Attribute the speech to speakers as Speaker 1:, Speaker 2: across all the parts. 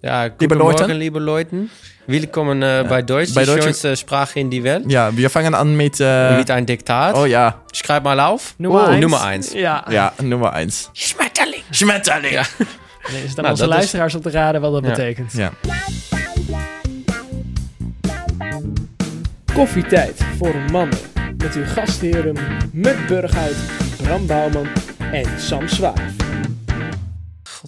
Speaker 1: Ja,
Speaker 2: liebe
Speaker 1: guten
Speaker 2: Leute.
Speaker 1: Morgen, liebe Leuten. Willkommen äh, bei Deutsch.
Speaker 2: Bei
Speaker 1: Die
Speaker 2: Deutsch-
Speaker 1: schönste Sprache in die Welt.
Speaker 2: Ja, wir fangen an mit. Äh,
Speaker 1: Mit ein Diktat.
Speaker 2: oh ja.
Speaker 1: Ich schreib mal auf.
Speaker 3: Nummer
Speaker 1: Oh,
Speaker 3: één.
Speaker 1: Nummer 1.
Speaker 3: Ja.
Speaker 2: Ja, Nummer 1.
Speaker 3: Schmetterling.
Speaker 2: Schmetterling. Ja.
Speaker 3: Dan is het aan
Speaker 1: Nou,
Speaker 3: onze
Speaker 1: dat is-
Speaker 3: luisteraars om te raden wat dat
Speaker 1: Ja.
Speaker 3: betekent.
Speaker 2: Ja.
Speaker 3: Koffietijd voor mannen. Met uw gastheren Mut Burghuis, Bram Bouwman en Sam Zwaar.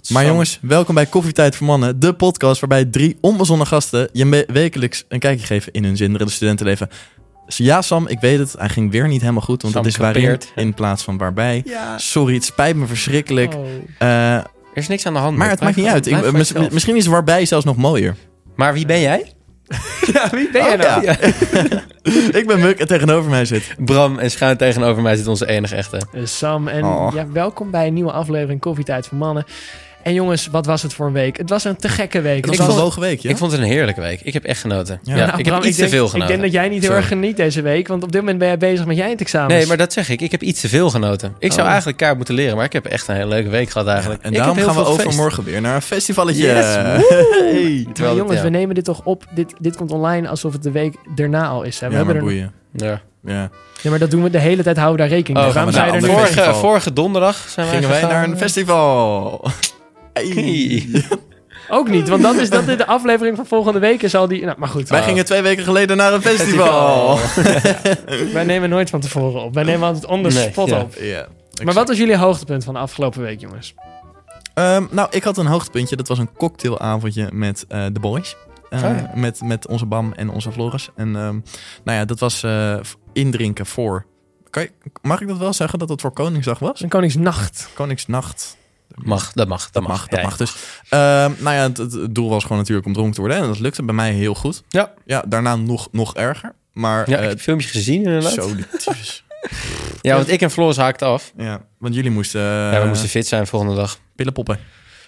Speaker 2: Maar jongens, welkom bij Koffietijd voor Mannen, de podcast waarbij drie onbezonnen gasten je me- wekelijks een kijkje geven in hun zinderende studentenleven. Dus Ja, Sam, ik weet het. Hij ging weer niet helemaal goed, want
Speaker 1: Sam
Speaker 2: dat is waarin
Speaker 1: kapeert.
Speaker 2: in plaats van waarbij.
Speaker 3: Ja.
Speaker 2: Sorry, het spijt me verschrikkelijk.
Speaker 3: Oh.
Speaker 2: Eh,
Speaker 1: Er is niks aan de hand.
Speaker 2: maar
Speaker 1: man.
Speaker 2: het maakt niet
Speaker 1: Blijf
Speaker 2: uit.
Speaker 1: gewoon-
Speaker 2: Ik,
Speaker 1: blijf
Speaker 2: mis-
Speaker 1: gewoon zelf.
Speaker 2: misschien is waarbij zelfs nog mooier.
Speaker 1: Maar wie ben jij? Oh,
Speaker 3: Ben jij nou?
Speaker 2: Ja. ik ben Muk en tegenover mij zit.
Speaker 1: Bram en schuin tegenover mij zit onze enige echte.
Speaker 3: Eh, Sam en
Speaker 2: Oh.
Speaker 3: ja, welkom bij een nieuwe aflevering Koffietijd voor mannen. En jongens, wat was het voor een week? Het was een te gekke week.
Speaker 2: Het was
Speaker 1: vond-
Speaker 2: een hoge week, ja?
Speaker 1: Ik vond het een heerlijke week. Ik heb echt genoten.
Speaker 2: Ja.
Speaker 1: Ja.
Speaker 3: Nou,
Speaker 1: ik
Speaker 3: Bram,
Speaker 1: heb iets
Speaker 3: denk-
Speaker 1: te veel genoten.
Speaker 3: Ik denk dat jij niet heel
Speaker 1: Sorry.
Speaker 3: erg geniet deze week, want op dit moment ben jij bezig met jij eindexamens.
Speaker 1: Nee, maar dat zeg ik. Ik heb iets te veel genoten. Ik zou
Speaker 2: Oh.
Speaker 1: eigenlijk kaart moeten leren, maar ik heb echt een hele leuke week gehad eigenlijk.
Speaker 2: En
Speaker 1: Ik
Speaker 2: daarom
Speaker 1: heb heel
Speaker 2: gaan we
Speaker 1: veel feest.
Speaker 2: overmorgen weer naar een festivalletje.
Speaker 1: Yes,
Speaker 2: Hey.
Speaker 3: Maar
Speaker 1: Terwijl
Speaker 3: jongens,
Speaker 1: het-
Speaker 3: we nemen dit toch op. Dit, dit komt online alsof het de week daarna al is. Hè? We
Speaker 2: Ja,
Speaker 3: hebben
Speaker 2: maar
Speaker 3: er-
Speaker 2: boeien.
Speaker 1: ja.
Speaker 2: Ja.
Speaker 3: Ja, maar dat doen we de hele tijd. Houden we daar rekening mee.
Speaker 1: Oh,
Speaker 2: gaan
Speaker 3: Waarom
Speaker 2: we naar
Speaker 3: zei je er
Speaker 2: een
Speaker 3: nu
Speaker 2: ander
Speaker 3: weer?
Speaker 1: vorige,
Speaker 2: festival.
Speaker 1: vorige donderdag zijn
Speaker 2: Gingen wij
Speaker 1: gegaan.
Speaker 2: naar een festival. Hey.
Speaker 1: Hey.
Speaker 3: Ook niet, want dat is dat dit de aflevering van volgende week is al die... Nou, maar goed,
Speaker 2: Wij
Speaker 3: wij,
Speaker 2: gingen twee weken geleden naar een festival.
Speaker 3: Eh, nemen nooit van tevoren op. Wij nemen altijd on the
Speaker 1: Nee,
Speaker 3: spot
Speaker 1: ja.
Speaker 3: op.
Speaker 2: Ja.
Speaker 3: Maar wat was jullie hoogtepunt van de afgelopen week, jongens?
Speaker 2: Ehm, nou, ik had een hoogtepuntje. Dat was een cocktailavondje met eh The Boys. Eh,
Speaker 1: Oh ja.
Speaker 2: met, met onze Bam en onze Floris. En ehm, nou ja, dat was eh, indrinken voor... Kan je- mag ik dat wel zeggen dat dat voor Koningsdag was?
Speaker 3: Een koningsnacht.
Speaker 2: Koningsnacht.
Speaker 1: Mag, dat mag, dat
Speaker 2: Dat
Speaker 1: mag.
Speaker 2: mag,
Speaker 1: Ja,
Speaker 2: dat mag dus. Ehm, nou ja, het, het- het doel was gewoon natuurlijk om dronken te worden. En dat lukte bij mij heel goed.
Speaker 1: Ja.
Speaker 2: Ja, daarna nog, nog erger. Maar...
Speaker 1: Ja,
Speaker 2: eh,
Speaker 1: ik heb het filmpje gezien inderdaad.
Speaker 2: zo, die tyfus.
Speaker 1: Ja, want ik en Floris haakten af.
Speaker 2: Ja, want jullie moesten, eh,
Speaker 1: ja, we moesten fit zijn volgende dag.
Speaker 2: pillen poppen.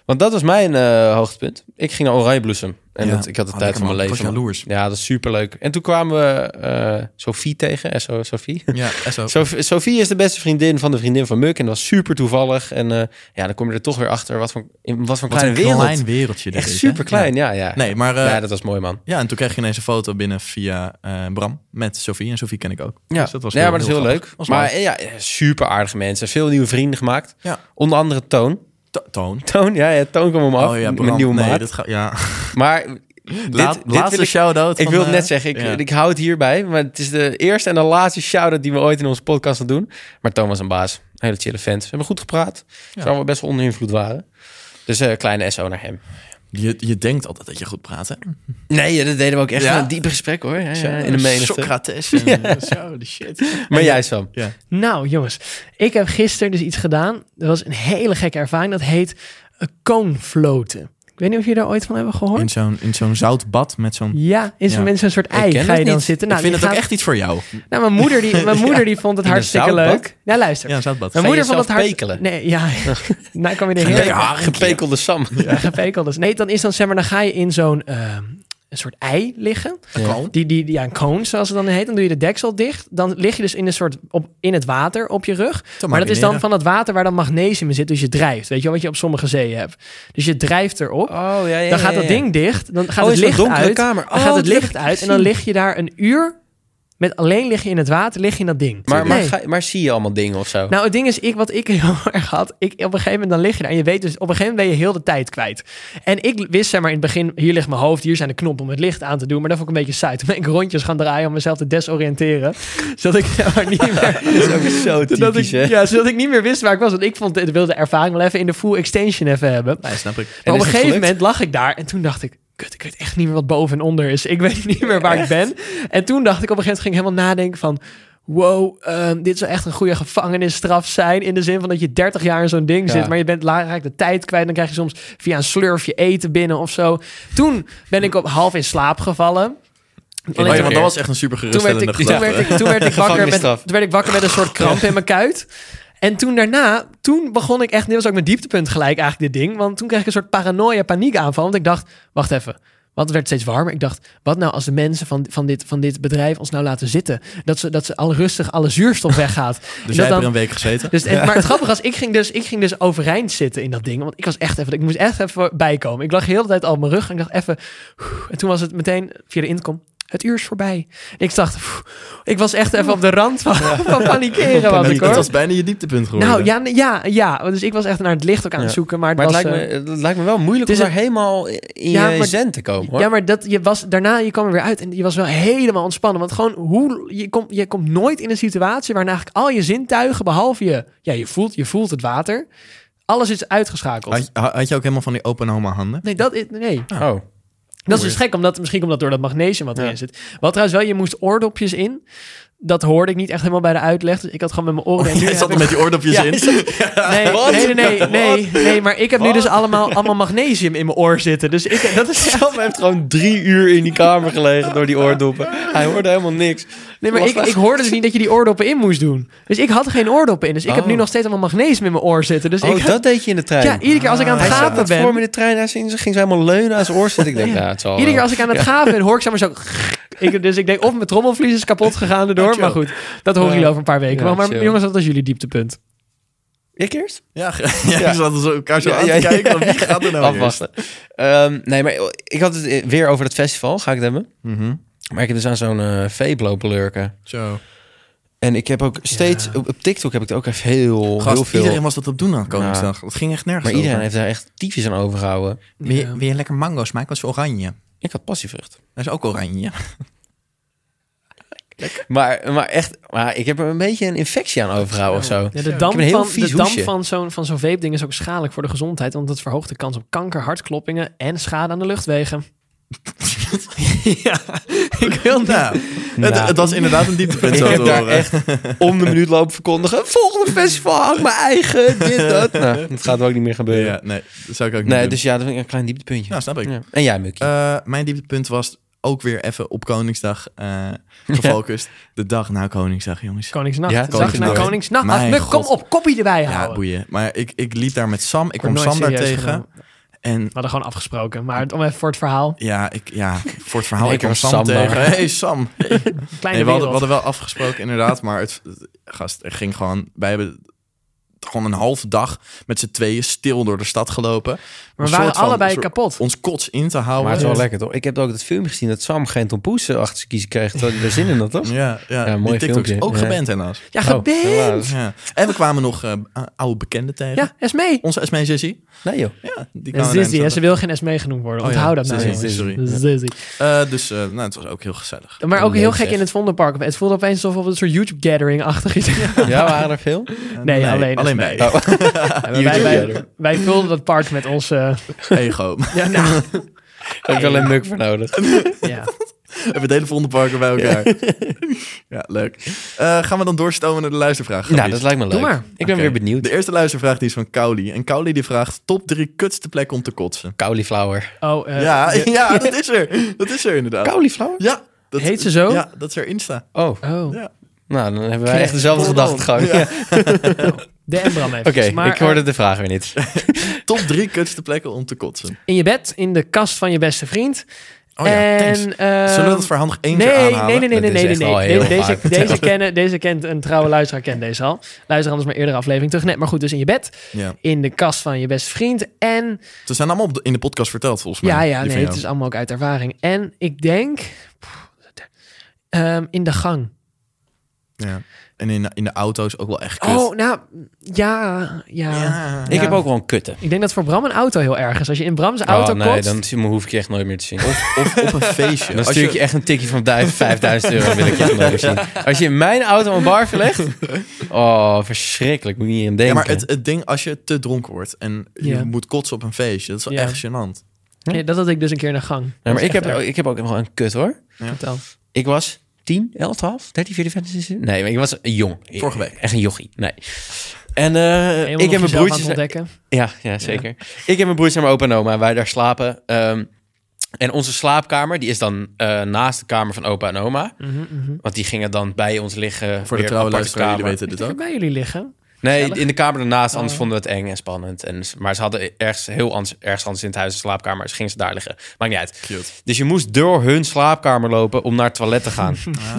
Speaker 1: Want dat was mijn eh, hoogtepunt. Ik ging naar Oranje Bloesem. En
Speaker 2: Ja.
Speaker 1: dat, ik had de
Speaker 2: Ah,
Speaker 1: tijd
Speaker 2: lekker
Speaker 1: van mijn
Speaker 2: man. Ik was
Speaker 1: leven. man.
Speaker 2: jaloers.
Speaker 1: Ja, dat is superleuk. En toen kwamen we eh, Sophie tegen. SO Sophie.
Speaker 2: Ja, en zo.
Speaker 1: Sof- Sophie is de beste vriendin van de vriendin van Muk. En dat was super toevallig. En eh, ja, dan kom je er toch weer achter. Wat voor, in wat voor een
Speaker 2: Wat
Speaker 1: kleine
Speaker 2: een
Speaker 1: wereld.
Speaker 2: klein wereldje dit
Speaker 1: Echt
Speaker 2: is, hè?
Speaker 1: super klein,
Speaker 2: Ja.
Speaker 1: ja, ja.
Speaker 2: Nee, maar... eh,
Speaker 1: ja, dat was mooi, man.
Speaker 2: Ja, en toen kreeg je ineens een foto binnen via eh, Bram met Sofie. En Sofie ken ik ook.
Speaker 1: Ja,
Speaker 2: Dus dat was
Speaker 1: ja maar dat is heel
Speaker 2: grappig.
Speaker 1: leuk.
Speaker 2: Was
Speaker 1: Maar eh, ja, super aardige mensen. Veel nieuwe vrienden gemaakt.
Speaker 2: Ja.
Speaker 1: Onder andere Toon.
Speaker 2: To- Toon.
Speaker 1: Toon, ja, ja Toon kwam om af.
Speaker 2: Oh ja,
Speaker 1: mijn
Speaker 2: Bram.
Speaker 1: nieuwe
Speaker 2: nee,
Speaker 1: maat.
Speaker 2: dat gaat... Ja.
Speaker 1: Maar dit,
Speaker 2: Laat,
Speaker 1: dit
Speaker 2: laatste
Speaker 1: wil ik,
Speaker 2: shout-out.
Speaker 1: ik
Speaker 2: van,
Speaker 1: wil het
Speaker 2: eh,
Speaker 1: net zeggen, ik,
Speaker 2: ja.
Speaker 1: ik hou het hierbij. Maar het is de eerste en de laatste shout-out die we ooit in onze podcast gaan doen. Maar Toon was een baas. Een hele chille vent. We hebben goed gepraat. Terwijl we best wel onder invloed waren. Dus eh, kleine SO naar hem.
Speaker 2: Je, je denkt altijd dat je goed praat, hè?
Speaker 1: Nee, dat deden we ook echt
Speaker 2: Ja?
Speaker 1: in een diepe gesprek hoor. Ja, ja, in de menigte.
Speaker 2: Socrates. En, eh, Zo, de shit.
Speaker 1: Maar jij Sam.
Speaker 2: Ja.
Speaker 3: Nou, jongens. Ik heb gisteren dus iets gedaan. Dat was een hele gekke ervaring. Dat heet eh, koonfloten. Ik weet niet of jullie daar ooit van hebben gehoord.
Speaker 2: In zo'n in zo'n zout bad met zo'n...
Speaker 3: Ja, in zo'n
Speaker 2: Ja.
Speaker 3: mensen een soort
Speaker 1: ken
Speaker 3: ei
Speaker 1: het
Speaker 3: ga je
Speaker 1: niet.
Speaker 3: dan zitten. Nou,
Speaker 2: ik vind
Speaker 3: die
Speaker 2: het ook echt
Speaker 3: gaat-
Speaker 2: iets voor jou.
Speaker 3: Nou, mijn moeder, die, mijn moeder die vond het
Speaker 1: In een
Speaker 3: hartstikke
Speaker 1: zoutbak?
Speaker 3: leuk. Nou, luister.
Speaker 2: Ja, een zoutbad.
Speaker 3: Mijn
Speaker 1: Ga je
Speaker 3: moeder vond het
Speaker 1: jezelf
Speaker 3: hartstikke...
Speaker 1: pekelen?
Speaker 3: Nee, ja. nou, kwam je er heel
Speaker 1: Gepe- Gepekelde Sam.
Speaker 3: gepekeld is. Nee, dan is dan zeg maar, dan ga je in zo'n ehm, een soort ei liggen.
Speaker 2: Gewoon.
Speaker 3: Die, die, die ja, een koon, zoals het dan heet. Dan doe je de deksel dicht. Dan lig je dus in een soort op, in het water op je rug. Maar dat is dan
Speaker 2: marineren.
Speaker 3: van het water waar dan magnesium in zit. Dus je drijft. Weet je wel wat je op sommige zeeën hebt. Dus je drijft erop.
Speaker 1: Oh ja, ja.
Speaker 3: Dan gaat dat ding dicht. Dan gaat
Speaker 1: Oh,
Speaker 3: het
Speaker 1: in zo'n
Speaker 3: licht
Speaker 1: donkere
Speaker 3: uit.
Speaker 1: kamer.
Speaker 3: dan
Speaker 1: Oh,
Speaker 3: gaat het
Speaker 1: dat heb
Speaker 3: licht
Speaker 1: ik
Speaker 3: uit. En dan lig je daar een uur. Met alleen lig je in het water, lig je in dat ding.
Speaker 1: Maar, maar,
Speaker 3: Nee.
Speaker 1: ga- maar zie je allemaal dingen of zo?
Speaker 3: Nou, het ding is, ik, wat ik heel erg had, ik, op een gegeven moment dan lig je daar en je weet dus, op een gegeven moment ben je heel de tijd kwijt. En ik wist zeg maar in het begin, hier ligt mijn hoofd, hier zijn de knoppen om het licht aan te doen, maar dat vond ik een beetje saai. Toen ben ik rondjes gaan draaien om mezelf te desoriënteren, zodat ik zeg maar niet meer...
Speaker 1: dat is ook zo
Speaker 3: zodat
Speaker 1: typisch, hè?
Speaker 3: ik, ja, zodat ik niet meer wist waar ik was. Want ik vond, ik wilde de ervaring wel even in de full extension even hebben.
Speaker 1: Nou
Speaker 2: Nee, snap ik.
Speaker 3: Maar op
Speaker 1: is
Speaker 3: een
Speaker 1: het
Speaker 3: gegeven
Speaker 1: gelukt?
Speaker 3: moment lag ik daar en toen dacht ik... Kut, ik weet echt niet meer wat boven en onder is. Ik weet niet meer waar ik ben. En toen dacht ik op een gegeven moment, ging ik helemaal nadenken van... wow, ehm, dit zou echt een goede gevangenisstraf zijn. In de zin van dat je 30 jaar in zo'n ding
Speaker 1: Ja.
Speaker 3: zit, maar je bent la- raakt de tijd kwijt. Dan krijg je soms via een slurfje eten binnen of zo. Toen ben ik op half in slaap gevallen.
Speaker 2: Oh ja,
Speaker 3: Alleen-
Speaker 2: want dat was echt een super
Speaker 3: toen werd ik,
Speaker 2: geruststellende
Speaker 3: toen
Speaker 2: gedachte.
Speaker 3: werd ik, toen werd ik wakker met,
Speaker 1: Gevangenisstraf.
Speaker 3: toen werd ik wakker met een soort kramp in mijn kuit. En toen daarna, toen begon ik echt, dit was ook mijn dieptepunt gelijk eigenlijk dit ding. Want toen kreeg ik een soort paranoia paniekaanval. Want ik dacht, wacht even. Want het werd steeds warmer. Ik dacht, wat nou als de mensen van, van, dit, van dit bedrijf ons nou laten zitten? Dat ze, dat ze al rustig alle zuurstof weggaat. En
Speaker 2: Dus
Speaker 3: dat
Speaker 2: jij hebt
Speaker 3: dan-
Speaker 2: er een week gezeten.
Speaker 3: dus, en- Maar het grappige was, ik ging, dus, ik ging dus overeind zitten in dat ding. Want ik was echt even, ik moest echt even bijkomen. Ik lag heel de hele tijd al op mijn rug en ik dacht even... oeh. En toen was het meteen via de inkom, het uur is voorbij. En ik dacht, oeh, ik was echt even op de rand van, van panikeren. Was ik,
Speaker 2: Dat
Speaker 3: hoor.
Speaker 2: was bijna je dieptepunt geworden.
Speaker 3: Nou ja, nee, ja, ja, dus ik was echt naar het licht ook aan het
Speaker 1: Ja.
Speaker 3: zoeken. Maar het,
Speaker 1: Maar het
Speaker 3: was,
Speaker 1: lijkt,
Speaker 3: eh,
Speaker 1: me, het lijkt me wel moeilijk
Speaker 3: het is
Speaker 1: om
Speaker 3: een-
Speaker 1: daar helemaal in
Speaker 3: Ja,
Speaker 1: je
Speaker 3: maar-
Speaker 1: zen te komen. Hoor.
Speaker 3: ja, maar dat, je was, daarna je kwam er weer uit en je was wel helemaal ontspannen. Want gewoon, hoe, je, komt je komt nooit in een situatie waarin eigenlijk al je zintuigen, behalve je... Ja, je voelt, je voelt het water. Alles is uitgeschakeld.
Speaker 2: Had, je- had je ook helemaal van die open oma handen?
Speaker 3: Nee, dat is, nee.
Speaker 1: Oh,
Speaker 3: dat is dus gek, omdat, misschien komt dat door dat magnesium wat
Speaker 1: Ja.
Speaker 3: erin zit. Wat trouwens wel, je moest oordopjes in. Dat hoorde ik niet echt helemaal bij de uitleg. Dus ik had gewoon met mijn oren...
Speaker 1: Oh,
Speaker 3: en nu
Speaker 2: Jij
Speaker 3: heb
Speaker 2: zat er
Speaker 3: ik-
Speaker 2: met je oordopjes
Speaker 3: Ja,
Speaker 2: in.
Speaker 3: nee, nee, nee, nee, nee, nee, Maar ik heb nu dus allemaal, allemaal magnesium in mijn oor zitten. Dus ik, dat is...
Speaker 1: Sam heeft gewoon drie uur in die kamer gelegen door die oordoppen. Hij hoorde helemaal niks.
Speaker 3: Nee, maar ik, ik hoorde dus niet dat je die oordoppen in moest doen. Dus ik had geen oordoppen in. Dus ik heb nu
Speaker 1: Oh.
Speaker 3: nog steeds allemaal magnesium in mijn oor zitten. Dus
Speaker 1: Oh,
Speaker 3: ik...
Speaker 1: dat deed je in de trein.
Speaker 3: Ja, iedere keer als ik aan het
Speaker 1: hij zat
Speaker 3: gapen
Speaker 1: net voor me
Speaker 3: ben...
Speaker 1: in de trein, hij ging, ging ze helemaal leunen aan zijn oor zitten. Ik denk,
Speaker 3: Ja.
Speaker 1: nou, het
Speaker 2: Oh.
Speaker 1: zal
Speaker 3: Iedere
Speaker 1: wel.
Speaker 3: keer als ik aan het gaven ben, hoor ik zeg maar zo... Ik, dus ik denk, of mijn trommelvlies is kapot gegaan erdoor. Maar goed, dat horen
Speaker 1: Ja.
Speaker 3: jullie over een paar weken.
Speaker 1: Ja,
Speaker 3: wel. maar
Speaker 1: chill.
Speaker 3: jongens, dat was jullie dieptepunt.
Speaker 1: Ik eerst?
Speaker 2: Ja, ja,
Speaker 1: Ja.
Speaker 2: we zaten zo elkaar zo
Speaker 1: Ja,
Speaker 2: aan
Speaker 1: ja,
Speaker 2: te
Speaker 1: ja.
Speaker 2: kijken. want Wie gaat er nou
Speaker 1: Afwachten. Ehm, nee, maar ik had het eh, weer over het festival, ga ik het hebben.
Speaker 2: eerst? Mhm.
Speaker 1: Maar ik heb dus aan zo'n eh vape lopen lurken.
Speaker 2: Zo.
Speaker 1: En ik heb ook steeds... Op, op TikTok heb ik het ook echt heel,
Speaker 2: Gast,
Speaker 1: heel veel...
Speaker 2: iedereen was dat op doen aan Koningsdag. Dat ging echt nergens
Speaker 1: maar iedereen
Speaker 2: over.
Speaker 1: heeft daar echt tyfus aan overgehouden.
Speaker 2: Wil je, wil je lekker mango's maken? Dat is oranje.
Speaker 1: Ik had passievrucht.
Speaker 2: Dat is ook oranje.
Speaker 1: Maar, maar echt, maar ik heb er een beetje een infectie aan overgehouden of zo.
Speaker 3: Ja, de
Speaker 1: Ik heb
Speaker 3: damp,
Speaker 1: een heel
Speaker 3: van,
Speaker 1: vies
Speaker 3: de damp
Speaker 1: hoesje.
Speaker 3: van zo'n van zo'n vape-ding is ook schadelijk voor de gezondheid. Want dat verhoogt de kans op kanker, hartkloppingen en schade aan de luchtwegen. ja, ik wil niet.
Speaker 2: Nou, Het,
Speaker 1: Nou.
Speaker 2: het was inderdaad een dieptepunt
Speaker 1: Ik
Speaker 2: zo te
Speaker 1: heb daar
Speaker 2: horen.
Speaker 1: echt om de minuut lopen verkondigen. Volgende festival, hou ik mijn eigen, dit, dat. Nou, dat gaat ook niet meer gebeuren.
Speaker 2: Ja, nee, dat zou ik ook niet
Speaker 1: Nee,
Speaker 2: doen.
Speaker 1: dus ja, dat vind ik een klein dieptepuntje.
Speaker 2: Nou, snap ik.
Speaker 1: Ja. En jij, Mukkie.
Speaker 2: Eh, mijn dieptepunt was ook weer even op Koningsdag eh, gefocust. De dag na Koningsdag, jongens.
Speaker 3: Koningsnacht.
Speaker 1: Ja,
Speaker 3: Ja, Koningsnacht.
Speaker 2: Koningsnacht.
Speaker 3: Koningsnacht.
Speaker 2: Mijn
Speaker 3: Muk, kom
Speaker 2: god.
Speaker 3: op, koppie erbij
Speaker 2: Ja,
Speaker 3: houden.
Speaker 2: boeien. Maar ik, ik liep daar met Sam. Ik
Speaker 3: Wordt
Speaker 2: kwam Sam
Speaker 3: nooit
Speaker 2: daar
Speaker 3: serieus
Speaker 2: tegen.
Speaker 3: genomen.
Speaker 2: En
Speaker 3: We hadden gewoon afgesproken. Maar het- om even voor het verhaal.
Speaker 2: ja, ik, ja, voor het verhaal,
Speaker 1: Nee,
Speaker 2: ik kwam
Speaker 1: ik was
Speaker 2: Sam,
Speaker 1: Sam daar.
Speaker 2: tegen. hey, Sam. Nee,
Speaker 3: Kleine
Speaker 2: we, hadden,
Speaker 3: wereld.
Speaker 2: we hadden wel afgesproken, inderdaad. Maar het, het- gast, er ging gewoon... Wij hebben gewoon een halve dag met z'n tweeën stil door de stad gelopen.
Speaker 3: maar
Speaker 2: Een
Speaker 3: we waren
Speaker 2: soort van-
Speaker 3: allebei
Speaker 2: een soort-
Speaker 3: kapot.
Speaker 2: Ons kots in te houden.
Speaker 1: maar het is
Speaker 3: ja.
Speaker 1: wel lekker, toch? Ik heb ook dat filmpje gezien dat Sam geen tompoes achter zijn kiezen kreeg. Terwijl hij er zin in had, toch?
Speaker 2: Ja, ja,
Speaker 1: Ja,
Speaker 2: die
Speaker 1: mooi
Speaker 2: TikToks
Speaker 1: filmpje.
Speaker 2: ook
Speaker 1: Ja.
Speaker 2: geband helaas.
Speaker 3: Ja,
Speaker 1: Oh,
Speaker 3: gebed.
Speaker 1: helaas.
Speaker 2: Ja. En we kwamen nog eh, oude bekenden tegen.
Speaker 3: Ja, Esmee.
Speaker 2: Onze Esmee Sissy.
Speaker 1: Nee, joh.
Speaker 2: Oh, Ja, die kwamen
Speaker 3: Zizzy, hè,
Speaker 2: ineens
Speaker 3: ze wil geen Esmee genoemd worden.
Speaker 2: Oh ja,
Speaker 3: Onthoud dat
Speaker 2: Zizzy,
Speaker 3: nou. jongens.
Speaker 2: Zizzy.
Speaker 3: Zizzy.
Speaker 2: Eh, dus eh, nou, het was ook heel gezellig.
Speaker 3: Maar ook
Speaker 1: Leuk,
Speaker 3: heel gek
Speaker 1: zeg.
Speaker 3: in het Vondelpark. Het voelde opeens alsof we een soort YouTube-gathering-achtig is.
Speaker 1: Ja, waren er veel?
Speaker 2: Eh,
Speaker 3: Nee, alleen
Speaker 2: alleen
Speaker 3: Esmee.
Speaker 2: wij.
Speaker 1: Oh.
Speaker 3: Wij, wij, wij, vulden dat park met ons... eh,
Speaker 2: Oh. Ego.
Speaker 3: ja, nou,
Speaker 1: Daar heb ik wel een muk voor nodig.
Speaker 3: ja.
Speaker 2: Even het hele Vondelparken bij elkaar. ja, leuk. Eh, gaan we dan doorstomen naar de luistervraag?
Speaker 1: Nou,
Speaker 2: Gabies?
Speaker 1: dat lijkt me leuk.
Speaker 3: Doe maar.
Speaker 1: Ik ben
Speaker 2: Oké.
Speaker 1: weer benieuwd.
Speaker 2: De eerste luistervraag die is van Kauli. En Kauli die vraagt top drie kutste plekken om te kotsen.
Speaker 1: Cauliflower.
Speaker 3: Oh, eh,
Speaker 2: ja, ja, dat is er. Dat is er inderdaad.
Speaker 1: Cauliflower?
Speaker 2: Ja. Dat,
Speaker 3: Heet ze zo?
Speaker 2: Ja, dat is haar Insta.
Speaker 1: Oh,
Speaker 3: Oh,
Speaker 2: Ja.
Speaker 1: nou, dan hebben wij echt dezelfde gedachtegang. Ja.
Speaker 3: de Embram even.
Speaker 1: Oké,
Speaker 3: maar,
Speaker 1: ik hoorde
Speaker 3: eh,
Speaker 1: de vraag weer niet.
Speaker 2: Top drie kutste plekken om te kotsen.
Speaker 3: in je bed, in de kast van je beste vriend.
Speaker 2: Oh ja,
Speaker 3: en,
Speaker 2: thanks. Zullen we dat
Speaker 3: ehm,
Speaker 2: voor handig eentje
Speaker 3: Nee,
Speaker 2: aanhalen?
Speaker 3: nee, nee, nee, nee,
Speaker 1: Dat is
Speaker 3: nee,
Speaker 1: echt
Speaker 3: nee.
Speaker 1: al
Speaker 3: nee.
Speaker 1: heel
Speaker 3: Deze, deze,
Speaker 1: vaak
Speaker 3: deze,
Speaker 1: verteld.
Speaker 3: kennen, deze kent een trouwe luisteraar, kent deze al. Luister anders maar eerdere aflevering terug. Net, maar goed, dus in je bed,
Speaker 2: Ja.
Speaker 3: in de kast van je beste vriend. En
Speaker 2: Ze zijn allemaal op de- in de podcast verteld, volgens mij.
Speaker 3: ja, ja,
Speaker 2: Die van
Speaker 3: nee, het
Speaker 2: jou.
Speaker 3: is allemaal ook uit ervaring. En ik denk, pff, ehm, in de gang.
Speaker 2: Ja. En in, in de auto's ook wel echt kut.
Speaker 3: Oh, nou, ja, ja.
Speaker 2: Ja.
Speaker 1: Ik heb ook wel een kutte.
Speaker 3: Ik denk dat voor Bram een auto heel erg is. Als je in Brams auto
Speaker 1: Oh, nee,
Speaker 3: kotst-
Speaker 1: dan zie- hoef ik je echt nooit meer te zien.
Speaker 2: Of op een feestje.
Speaker 1: Dan
Speaker 2: Als
Speaker 1: stuur ik
Speaker 2: je-
Speaker 1: je echt een tikje van 5000 euro, wil ik je echt nooit meer zien. Als je in mijn auto een bar verlegt... Oh, verschrikkelijk. Moet je niet aan
Speaker 2: Ja,
Speaker 1: denken.
Speaker 2: maar het, het ding, als je te dronken wordt en je
Speaker 3: Ja.
Speaker 2: moet kotsen op een feestje, dat is wel
Speaker 3: Ja.
Speaker 2: echt gênant.
Speaker 3: Ja, dat had ik dus een keer in de gang.
Speaker 1: Hm? Ja,
Speaker 3: Dat
Speaker 1: maar
Speaker 3: is
Speaker 1: ik, heb,
Speaker 3: echt erg.
Speaker 1: ik heb ook nog wel een kut, hoor.
Speaker 3: Vertel.
Speaker 1: Ik was 10, 11, 12, 13, 14, 15, 16. Nee, maar ik was een jong.
Speaker 2: Vorige week.
Speaker 1: Echt een jochie. Nee. En eh,
Speaker 3: Helemaal
Speaker 1: ik
Speaker 3: nog
Speaker 1: heb mijn
Speaker 3: jezelf aan het
Speaker 1: broertjes...
Speaker 3: ontdekken.
Speaker 1: Ja, ja zeker. Ik heb mijn broertje en mijn opa en oma. en Wij daar slapen. Ehm, en onze slaapkamer, die is dan eh, naast de kamer van opa en oma. Want die gingen dan bij ons liggen.
Speaker 2: Voor de
Speaker 1: weer
Speaker 2: trouwe
Speaker 1: aparte
Speaker 2: luisteraar, jullie
Speaker 1: kamer.
Speaker 2: weten dit
Speaker 3: Even
Speaker 2: ook.
Speaker 3: bij jullie liggen.
Speaker 1: Nee,
Speaker 3: Gezellig. Oh.
Speaker 1: in de kamer daarnaast, anders vonden we het eng en spannend. En, maar ze hadden ergens heel anders, ergens anders in het huis een slaapkamer, dus gingen ze daar liggen. Maakt niet uit.
Speaker 2: Cute.
Speaker 1: Dus je moest door hun slaapkamer lopen om naar het toilet te gaan.
Speaker 2: Ah.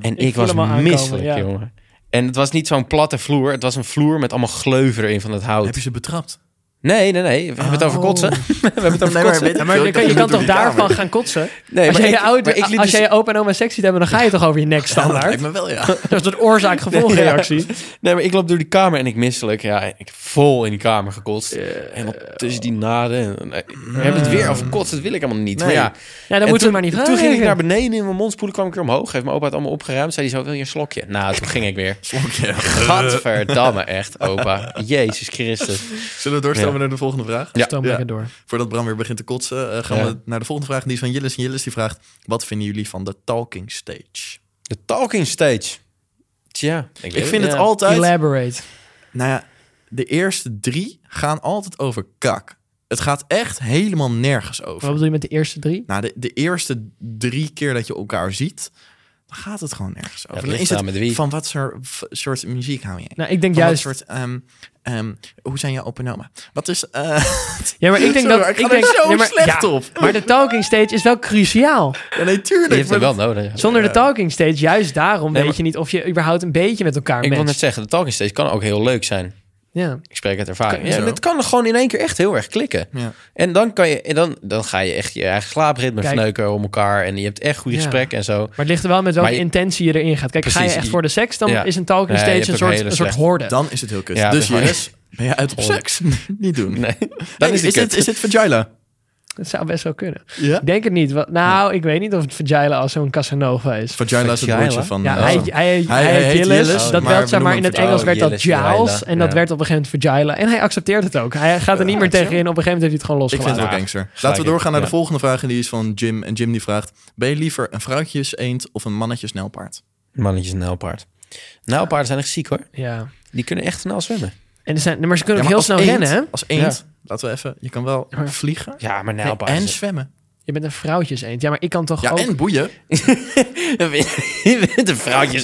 Speaker 1: En ik,
Speaker 3: Ik voel
Speaker 1: was
Speaker 3: hem al aankomen,
Speaker 1: misselijk,
Speaker 3: ja.
Speaker 1: jongen. En het was niet zo'n platte vloer, het was een vloer met allemaal gleuven erin van het
Speaker 2: Heb
Speaker 1: hout.
Speaker 2: je ze betrapt?
Speaker 1: Nee, nee, nee, we hebben het over
Speaker 2: Oh.
Speaker 1: kotsen. we hebben het
Speaker 2: Nee,
Speaker 1: over
Speaker 2: maar
Speaker 1: kotsen.
Speaker 2: weet ik
Speaker 3: Maar
Speaker 2: veel,
Speaker 3: je
Speaker 2: ik
Speaker 3: kan, je
Speaker 2: dacht,
Speaker 3: kan
Speaker 2: moet door
Speaker 3: toch
Speaker 2: die kamer.
Speaker 3: daarvan gaan kotsen?
Speaker 1: Nee,
Speaker 3: als
Speaker 1: maar
Speaker 3: jij
Speaker 1: ik-
Speaker 3: je, oude,
Speaker 1: maar ik liep
Speaker 3: als
Speaker 1: dus-
Speaker 3: jij je opa en oma seks ziet hebben, dan ga je toch over je nek
Speaker 2: Ja, dat
Speaker 3: standaard.
Speaker 2: lijkt me wel, ja.
Speaker 3: dat is een oorzaak-gevolgreactie.
Speaker 1: Nee, maar ik loop door die kamer en ik misselijk. Ja, ik heb vol in die kamer gekotst. Helemaal tussen die naden. En, nee, we hebben het
Speaker 3: Mm.
Speaker 1: weer over kotsen, dat wil ik helemaal niet. Maar
Speaker 2: Nee.
Speaker 1: ja,
Speaker 3: Ja, dan
Speaker 1: En
Speaker 3: moeten we
Speaker 1: toen-
Speaker 3: maar niet vragen.
Speaker 1: Toen ging ik naar beneden in mijn mond spoelen, kwam ik weer omhoog. Heeft mijn opa het allemaal opgeruimd. Zei hij zo, wil je een slokje? Nou, toen ging ik weer.
Speaker 2: Slokje.
Speaker 1: Gadverdamme, echt, opa. Jezus Christus.
Speaker 2: Zullen we doorstellen
Speaker 1: Ja.
Speaker 2: naar de volgende vraag?
Speaker 1: Ja.
Speaker 3: Stoom
Speaker 2: Ja.
Speaker 3: lekker door.
Speaker 2: Voordat Bram weer begint te kotsen, eh, gaan
Speaker 1: Ja.
Speaker 2: we naar de volgende vraag. Die is van Jillis. En Jillis die vraagt, wat vinden jullie van de talking stage?
Speaker 1: De talking stage. Tja. weet
Speaker 2: Ik
Speaker 1: het
Speaker 2: vind
Speaker 1: niet.
Speaker 2: het altijd...
Speaker 3: Elaborate.
Speaker 2: Nou ja, de eerste drie gaan altijd over kak. Het gaat echt helemaal nergens over.
Speaker 3: Wat bedoel je met de eerste drie?
Speaker 2: Nou, de, de eerste drie keer dat je elkaar ziet, dan gaat het gewoon nergens over.
Speaker 1: het
Speaker 2: dan
Speaker 1: ligt
Speaker 2: is het
Speaker 1: eraan met wie.
Speaker 2: van wat soort, v- soort muziek hou je?
Speaker 3: Nou, ik denk
Speaker 2: Van
Speaker 3: juist...
Speaker 2: wat soort, ehm, ehm, hoe zijn jouw open oma? Wat is... eh,
Speaker 3: Ja, maar ik denk
Speaker 2: Sorry,
Speaker 3: dat...
Speaker 2: ik ga er
Speaker 3: denk,
Speaker 2: zo
Speaker 3: nee, maar-
Speaker 2: slecht
Speaker 3: ja,
Speaker 2: op.
Speaker 3: Maar de talking stage is wel cruciaal.
Speaker 2: ja, nee,
Speaker 1: Je
Speaker 2: tuurlijk.
Speaker 1: hebt
Speaker 2: maar
Speaker 1: hem wel nodig.
Speaker 3: Zonder de talking stage, juist daarom
Speaker 1: Nee,
Speaker 3: weet je niet of je überhaupt een beetje met elkaar
Speaker 1: Ik wil net
Speaker 3: matcht.
Speaker 1: zeggen, de talking stage kan ook heel leuk zijn.
Speaker 3: Ja.
Speaker 1: Ik spreek uit ervaring.
Speaker 2: Kan-
Speaker 1: Ja,
Speaker 2: zo.
Speaker 1: het kan gewoon in één keer echt heel erg klikken.
Speaker 2: Ja.
Speaker 1: En dan, kan je, en dan, dan ga je echt je eigen slaapritme
Speaker 3: Kijk.
Speaker 1: verneuken om elkaar. En je hebt echt goede
Speaker 3: Ja.
Speaker 1: gesprekken en zo.
Speaker 3: Maar het ligt er wel met welke
Speaker 1: Maar je-
Speaker 3: intentie je erin gaat. Kijk, ga je
Speaker 1: Precies,
Speaker 3: echt
Speaker 1: je-
Speaker 3: voor de seks, dan
Speaker 1: ja.
Speaker 3: is een talking
Speaker 1: Nee, je hebt
Speaker 3: stage een
Speaker 1: ook
Speaker 3: soort,
Speaker 1: hele
Speaker 3: een soort
Speaker 1: slechte-
Speaker 3: horde.
Speaker 2: Dan is het heel kut.
Speaker 1: Ja,
Speaker 2: dus
Speaker 1: dat is
Speaker 2: Jillis, ben je uit op seks? Niet doen.
Speaker 1: Nee,
Speaker 2: Nee,
Speaker 1: dan is het
Speaker 2: is, het,
Speaker 1: kut.
Speaker 2: is het vagina?
Speaker 3: Dat zou best wel kunnen.
Speaker 2: Ja?
Speaker 3: Ik denk het niet. Wa- Nou, ik weet niet of het Vagila als zo'n Casanova is.
Speaker 2: Vagina is het
Speaker 1: Vagina?
Speaker 2: broertje van...
Speaker 3: Ja,
Speaker 2: eh,
Speaker 3: hij,
Speaker 2: Sam.
Speaker 3: hij, hij,
Speaker 2: Hij- hij
Speaker 3: heet
Speaker 2: heet
Speaker 3: Jillis.
Speaker 2: Jillis,
Speaker 3: dat
Speaker 2: maar
Speaker 3: werd, zeg
Speaker 2: we
Speaker 3: maar, in
Speaker 2: noemen
Speaker 3: het
Speaker 2: hem
Speaker 3: Engels werd dat
Speaker 1: Jillis, Vagila.
Speaker 3: Giles. En dat
Speaker 1: Ja.
Speaker 3: werd op een gegeven moment Vagila. En hij accepteert het ook. Hij gaat er niet meer tegenin. Op een gegeven moment heeft hij het gewoon
Speaker 2: Ik vind het
Speaker 3: losgelaten.
Speaker 2: wel
Speaker 1: Ja,
Speaker 2: gangster.
Speaker 1: gelijk
Speaker 2: Laten we
Speaker 1: in.
Speaker 2: doorgaan naar de
Speaker 1: Ja.
Speaker 2: volgende vraag. En die is van Jim. En Jim die vraagt... Ben je liever een vrouwtjes eend of een mannetje snelpaard?
Speaker 1: Mannetjes en nijlpaard. Nijlpaarden zijn echt ziek hoor.
Speaker 3: Ja.
Speaker 1: Die kunnen echt snel zwemmen.
Speaker 3: En er zijn, maar ze kunnen
Speaker 2: Ja,
Speaker 3: ook
Speaker 2: maar
Speaker 3: heel
Speaker 2: als
Speaker 3: snel
Speaker 2: eend-
Speaker 3: rennen, hè?
Speaker 2: Als eend, laten we even... Je kan wel vliegen
Speaker 1: Ja, maar
Speaker 2: nee,
Speaker 1: nijlpaarden...
Speaker 2: en zwemmen.
Speaker 3: Je bent een vrouwtjes eend. Ja, maar ik kan toch
Speaker 2: Ja,
Speaker 3: ook...
Speaker 2: en boeien.
Speaker 1: je bent een vrouwtje.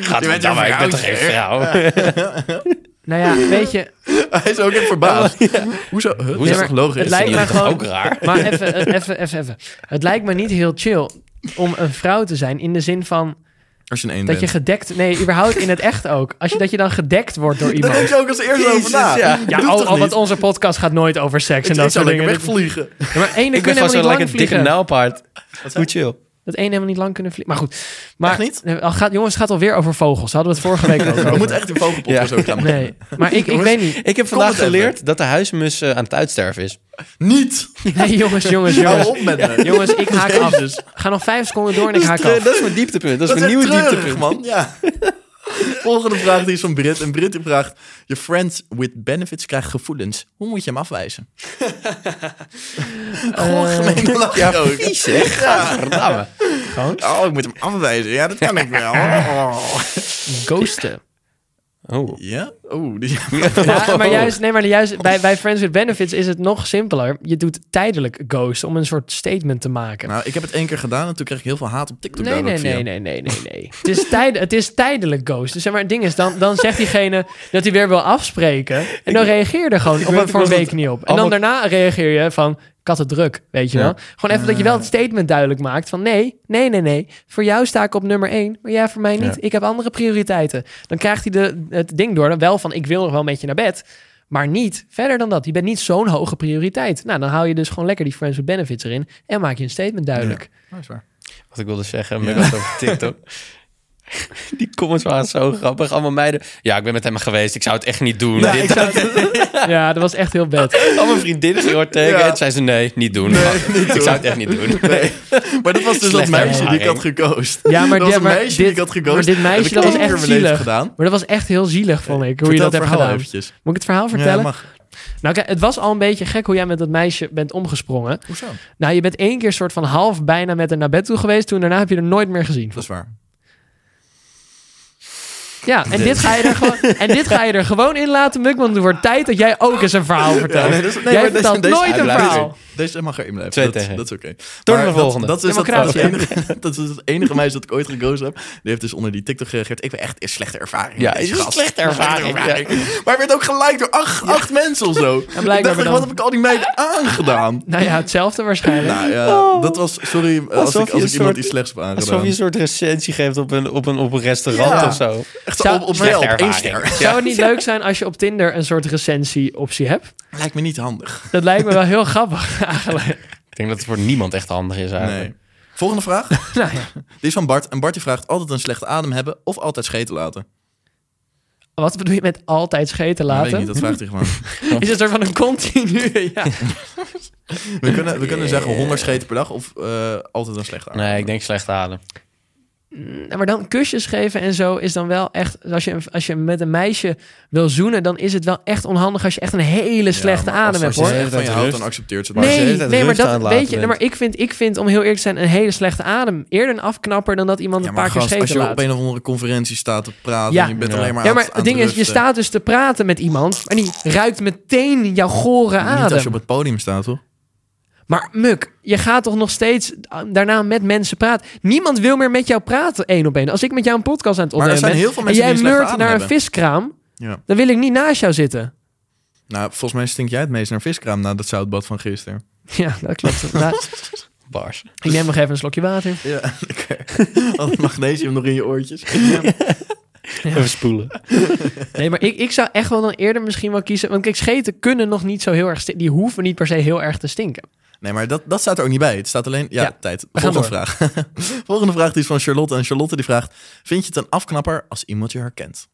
Speaker 1: Gaat
Speaker 2: Je bent
Speaker 1: het
Speaker 2: een
Speaker 1: maar ik ben toch geen
Speaker 2: vrouwtje.
Speaker 1: vrouw?
Speaker 3: Nou ja, weet je...
Speaker 2: Hij is ook echt verbaasd. Hoezo? Huh?
Speaker 1: Hoezo?
Speaker 2: Dat is toch logisch?
Speaker 3: Het lijkt
Speaker 1: Dat
Speaker 3: mij
Speaker 1: is toch
Speaker 3: gewoon...
Speaker 1: ook raar?
Speaker 3: Maar even, eh, even, even, even. Het lijkt me niet heel chill om een vrouw te zijn in de zin van
Speaker 2: Als je een eend
Speaker 3: dat je
Speaker 2: bent.
Speaker 3: gedekt... Nee, überhaupt in het echt ook. Als je, dat je dan gedekt wordt door
Speaker 2: Daar denk
Speaker 3: iemand.
Speaker 2: je ook als eerste over na.
Speaker 1: ja.
Speaker 3: Ja,
Speaker 2: Doe
Speaker 3: al,
Speaker 2: toch
Speaker 3: al
Speaker 2: niet?
Speaker 3: wat onze podcast gaat nooit over seks en
Speaker 2: Ik
Speaker 3: dat
Speaker 2: zou
Speaker 3: soort
Speaker 2: lekker
Speaker 3: dingen.
Speaker 2: wegvliegen.
Speaker 3: Ja, maar
Speaker 1: Ik ben
Speaker 3: één kunnen helemaal
Speaker 1: vast
Speaker 3: niet
Speaker 1: wel
Speaker 3: lang
Speaker 1: lekker een dikke
Speaker 3: vliegen.
Speaker 1: nijlpaard. Hoe chill.
Speaker 3: Dat één helemaal niet lang kunnen vliegen. Maar goed. Maar,
Speaker 2: Echt niet?
Speaker 3: Nee, al gaat, jongens, het gaat alweer over vogels. Daar hadden we het vorige week ook
Speaker 2: We
Speaker 3: over.
Speaker 2: moeten echt een vogelpodcast
Speaker 1: Ja.
Speaker 2: ook gaan maken.
Speaker 3: Nee, maar ik, ik weet niet.
Speaker 1: Ik heb
Speaker 2: Kom
Speaker 1: vandaag
Speaker 2: het even.
Speaker 1: geleerd dat de huismus eh, aan het uitsterven is.
Speaker 2: Niet!
Speaker 3: Nee, jongens, jongens,
Speaker 2: Hou
Speaker 3: jongens.
Speaker 2: op met me.
Speaker 3: Jongens, ik haak af. Ga nog vijf seconden door en ik
Speaker 1: Dat is,
Speaker 3: haak
Speaker 1: tre-
Speaker 3: af.
Speaker 1: Eh, dat is mijn dieptepunt. Dat is
Speaker 2: Dat is
Speaker 1: mijn
Speaker 2: echt
Speaker 1: nieuwe
Speaker 2: treurig,
Speaker 1: dieptepunt.
Speaker 2: man. Ja. Volgende vraag die is van Brit. En Brit die vraagt... Je friends with benefits krijgt gevoelens. Hoe moet je hem afwijzen? Eh, Gewoon gemeen lach
Speaker 1: Ja,
Speaker 2: je ook.
Speaker 1: vies zeg. Gadverdamme.
Speaker 2: Oh, ik moet hem afwijzen. Ja, dat kan ik wel. Oh.
Speaker 3: Ghosten.
Speaker 1: Oh.
Speaker 2: Ja? Oeh, die...
Speaker 3: Ja, maar juist, nee, maar juist bij, bij Friends with Benefits is het nog simpeler. Je doet tijdelijk ghost om een soort statement te maken.
Speaker 2: Nou, ik heb het één keer gedaan en toen kreeg ik heel veel haat op TikTok.
Speaker 3: Nee,
Speaker 2: daar
Speaker 3: nee,
Speaker 2: ook via.
Speaker 3: nee, nee, nee, nee, nee. het, is tijd, het is tijdelijk ghost. Dus zeg maar, het ding is, dan, dan zegt diegene dat hij weer wil afspreken. En dan reageer je er gewoon
Speaker 1: weet
Speaker 3: op, voor een
Speaker 1: nog dat
Speaker 3: week niet op. En dan
Speaker 1: allemaal-
Speaker 3: daarna reageer je van, kat het druk, weet je
Speaker 1: Ja.
Speaker 3: wel. Gewoon even dat je wel het statement duidelijk maakt van, nee, nee, nee, nee. Voor jou sta ik op nummer één, maar jij voor mij niet. Ik heb andere prioriteiten. Dan krijgt hij de, het ding door, dan wel van, ik wil nog wel met je naar bed. Maar niet verder dan dat. Je bent niet zo'n hoge prioriteit. Nou, dan hou je dus gewoon lekker die friends with benefits erin. En maak je een statement duidelijk.
Speaker 2: Maar is waar.
Speaker 1: Wat ik wilde zeggen met dat over TikTok. Die comments waren zo grappig. Allemaal meiden. Ja, ik ben met hem geweest. Ik zou het echt niet doen. Dit-
Speaker 3: Ja, dat was echt heel bad.
Speaker 1: Allemaal vriendinnen gingen hoor tegen.
Speaker 2: Ja.
Speaker 1: En zei ze, nee, niet doen. ik zou het echt niet doen.
Speaker 2: Maar dat was dus dat
Speaker 1: Slechte
Speaker 2: meisje die ik had
Speaker 1: ervaring.
Speaker 2: gegoost.
Speaker 3: Ja,
Speaker 2: dat
Speaker 3: maar
Speaker 2: was
Speaker 3: dit-
Speaker 2: een
Speaker 3: maar
Speaker 2: meisje
Speaker 3: dit-
Speaker 2: die ik had gegoost.
Speaker 3: maar dit meisje,
Speaker 2: Heb ik
Speaker 3: dat was
Speaker 2: één keer
Speaker 3: echt
Speaker 2: in mijn leven
Speaker 3: zielig.
Speaker 2: gedaan.
Speaker 3: Maar dat was echt heel zielig, vond ik, hoe
Speaker 2: Vertel
Speaker 3: je
Speaker 2: het
Speaker 3: dat hebt
Speaker 2: verhaal
Speaker 3: gedaan.
Speaker 2: eventjes.
Speaker 3: Moet ik het verhaal
Speaker 2: Ja,
Speaker 3: vertellen?
Speaker 2: mag.
Speaker 3: nou, kijk, het was al een beetje gek hoe jij met dat meisje bent omgesprongen.
Speaker 2: Hoezo?
Speaker 3: Nou, je bent één keer soort van half bijna met haar naar bed toe geweest. Toen daarna heb je er nooit meer gezien.
Speaker 2: Dat is waar.
Speaker 3: Ja, en dit, ga je er gewoon, en dit ga je er gewoon in laten, Muk, want het wordt tijd dat jij ook eens een verhaal vertelt. jij vertelt nooit een verhaal.
Speaker 2: Deze mag erin blijven.
Speaker 1: Twee
Speaker 2: dat,
Speaker 1: tegen.
Speaker 2: dat is oké.
Speaker 1: Door naar
Speaker 2: Maar
Speaker 1: de
Speaker 2: dat-
Speaker 1: volgende.
Speaker 2: Dat, is dat,
Speaker 3: Democratisch,
Speaker 2: dat enige, dat is het enige meisje dat ik ooit gekozen heb. Die heeft dus onder die TikTok gereageerd. Ik ben echt een slechte ervaring.
Speaker 1: Ja,
Speaker 2: met deze
Speaker 1: is een
Speaker 2: gast.
Speaker 1: slechte ervaring,
Speaker 2: Slechte ervaring. Maar hij werd ook gelijk door acht, acht mensen of zo. En
Speaker 3: blijkbaar
Speaker 2: ik dacht,
Speaker 3: dan.
Speaker 2: wat heb ik al die meiden aangedaan?
Speaker 3: Nou ja, hetzelfde waarschijnlijk.
Speaker 2: Nou ja,
Speaker 3: Oh.
Speaker 2: dat was... Sorry eh, als
Speaker 1: Alsof
Speaker 2: ik,
Speaker 1: je
Speaker 2: als
Speaker 1: een
Speaker 2: ik iemand
Speaker 1: soort-
Speaker 2: die slechts heb
Speaker 1: Alsof je
Speaker 2: aangedaan.
Speaker 1: een soort recensie geeft op een, op een, op een restaurant
Speaker 2: Ja.
Speaker 1: of zo.
Speaker 2: Echt
Speaker 3: Zou-
Speaker 2: op, op,
Speaker 1: slechte
Speaker 2: wel, op één
Speaker 1: ervaring.
Speaker 2: ster.
Speaker 3: Zou het niet leuk zijn als je op Tinder een soort recensie-optie hebt?
Speaker 2: Lijkt me niet handig.
Speaker 3: Dat lijkt me wel heel grappig eigenlijk.
Speaker 1: Ik denk dat het voor niemand echt handig is eigenlijk.
Speaker 2: Nee. Volgende vraag.
Speaker 3: Nou ja,
Speaker 2: Die is van Bart. En Bart die vraagt altijd een slechte adem hebben of altijd scheten laten.
Speaker 3: wat bedoel je met altijd scheten
Speaker 2: Dat weet ik
Speaker 3: laten?
Speaker 2: niet, dat vraagt hij gewoon.
Speaker 3: Is het er van een continue? Ja.
Speaker 2: We kunnen, we kunnen zeggen 100 scheten per dag of eh, altijd een slechte adem.
Speaker 1: Nee, ik denk slecht adem.
Speaker 3: Ja, Maar dan kusjes geven en zo is dan wel echt... Als je, als je met een meisje wil zoenen, dan is het wel echt onhandig... als je echt een hele slechte
Speaker 2: maar als
Speaker 3: adem hebt,
Speaker 2: ze
Speaker 3: hoor.
Speaker 2: echt van je
Speaker 1: Rust.
Speaker 2: houdt, dan accepteert ze het.
Speaker 1: ze de
Speaker 3: Nee,
Speaker 1: hele tijd
Speaker 3: nee, maar
Speaker 1: rust aan
Speaker 3: dat
Speaker 1: het laten
Speaker 3: weet je.
Speaker 1: bent.
Speaker 3: Maar ik vind, ik vind, om heel eerlijk te zijn, een hele slechte adem. Eerder een afknapper dan dat iemand
Speaker 2: Ja,
Speaker 3: een
Speaker 2: maar
Speaker 3: paar keer
Speaker 2: gast,
Speaker 3: scheten
Speaker 2: als je
Speaker 3: laat.
Speaker 2: op een of andere conferentie staat te praten
Speaker 3: Ja.
Speaker 2: en je bent
Speaker 1: Ja.
Speaker 2: alleen maar
Speaker 3: Ja,
Speaker 2: aan-
Speaker 3: maar
Speaker 2: aan
Speaker 3: het
Speaker 2: te
Speaker 3: ding is, je
Speaker 2: rusten.
Speaker 3: staat dus te praten met iemand... en die ruikt meteen jouw gore adem.
Speaker 2: Niet als je op het podium staat, hoor.
Speaker 3: Maar Muk, je gaat toch nog steeds ah, daarna met mensen praten? Niemand wil meer met jou praten, één op één. Als ik met jou een podcast aan het
Speaker 2: Maar er
Speaker 3: opnemen
Speaker 2: zijn
Speaker 3: ben...
Speaker 2: heel veel
Speaker 3: en
Speaker 2: mensen
Speaker 3: jij
Speaker 2: die een slechte
Speaker 3: meurt
Speaker 2: adem
Speaker 3: naar een
Speaker 2: hebben.
Speaker 3: viskraam...
Speaker 2: Ja.
Speaker 3: dan wil ik niet naast jou zitten.
Speaker 2: Nou, volgens mij stink jij het meest naar viskraam na dat zoutbad van gisteren.
Speaker 3: Ja, dat klopt. Nou,
Speaker 1: Bars.
Speaker 3: ik neem nog even een slokje water.
Speaker 2: Ja, oké. Had magnesium nog in je oortjes.
Speaker 1: Even spoelen.
Speaker 3: Nee, maar ik, ik zou echt wel dan eerder misschien wel kiezen... want kijk, scheten kunnen nog niet zo heel erg... stinken. Die hoeven niet per se heel erg te stinken.
Speaker 2: Nee, maar dat, dat staat er ook niet bij. Het staat alleen... Ja,
Speaker 3: Ja,
Speaker 2: tijd.
Speaker 3: gaan
Speaker 2: Volgende vraag. Volgende vraag die is van Charlotte. En Charlotte die vraagt... Vind je het een afknapper als iemand je herkent?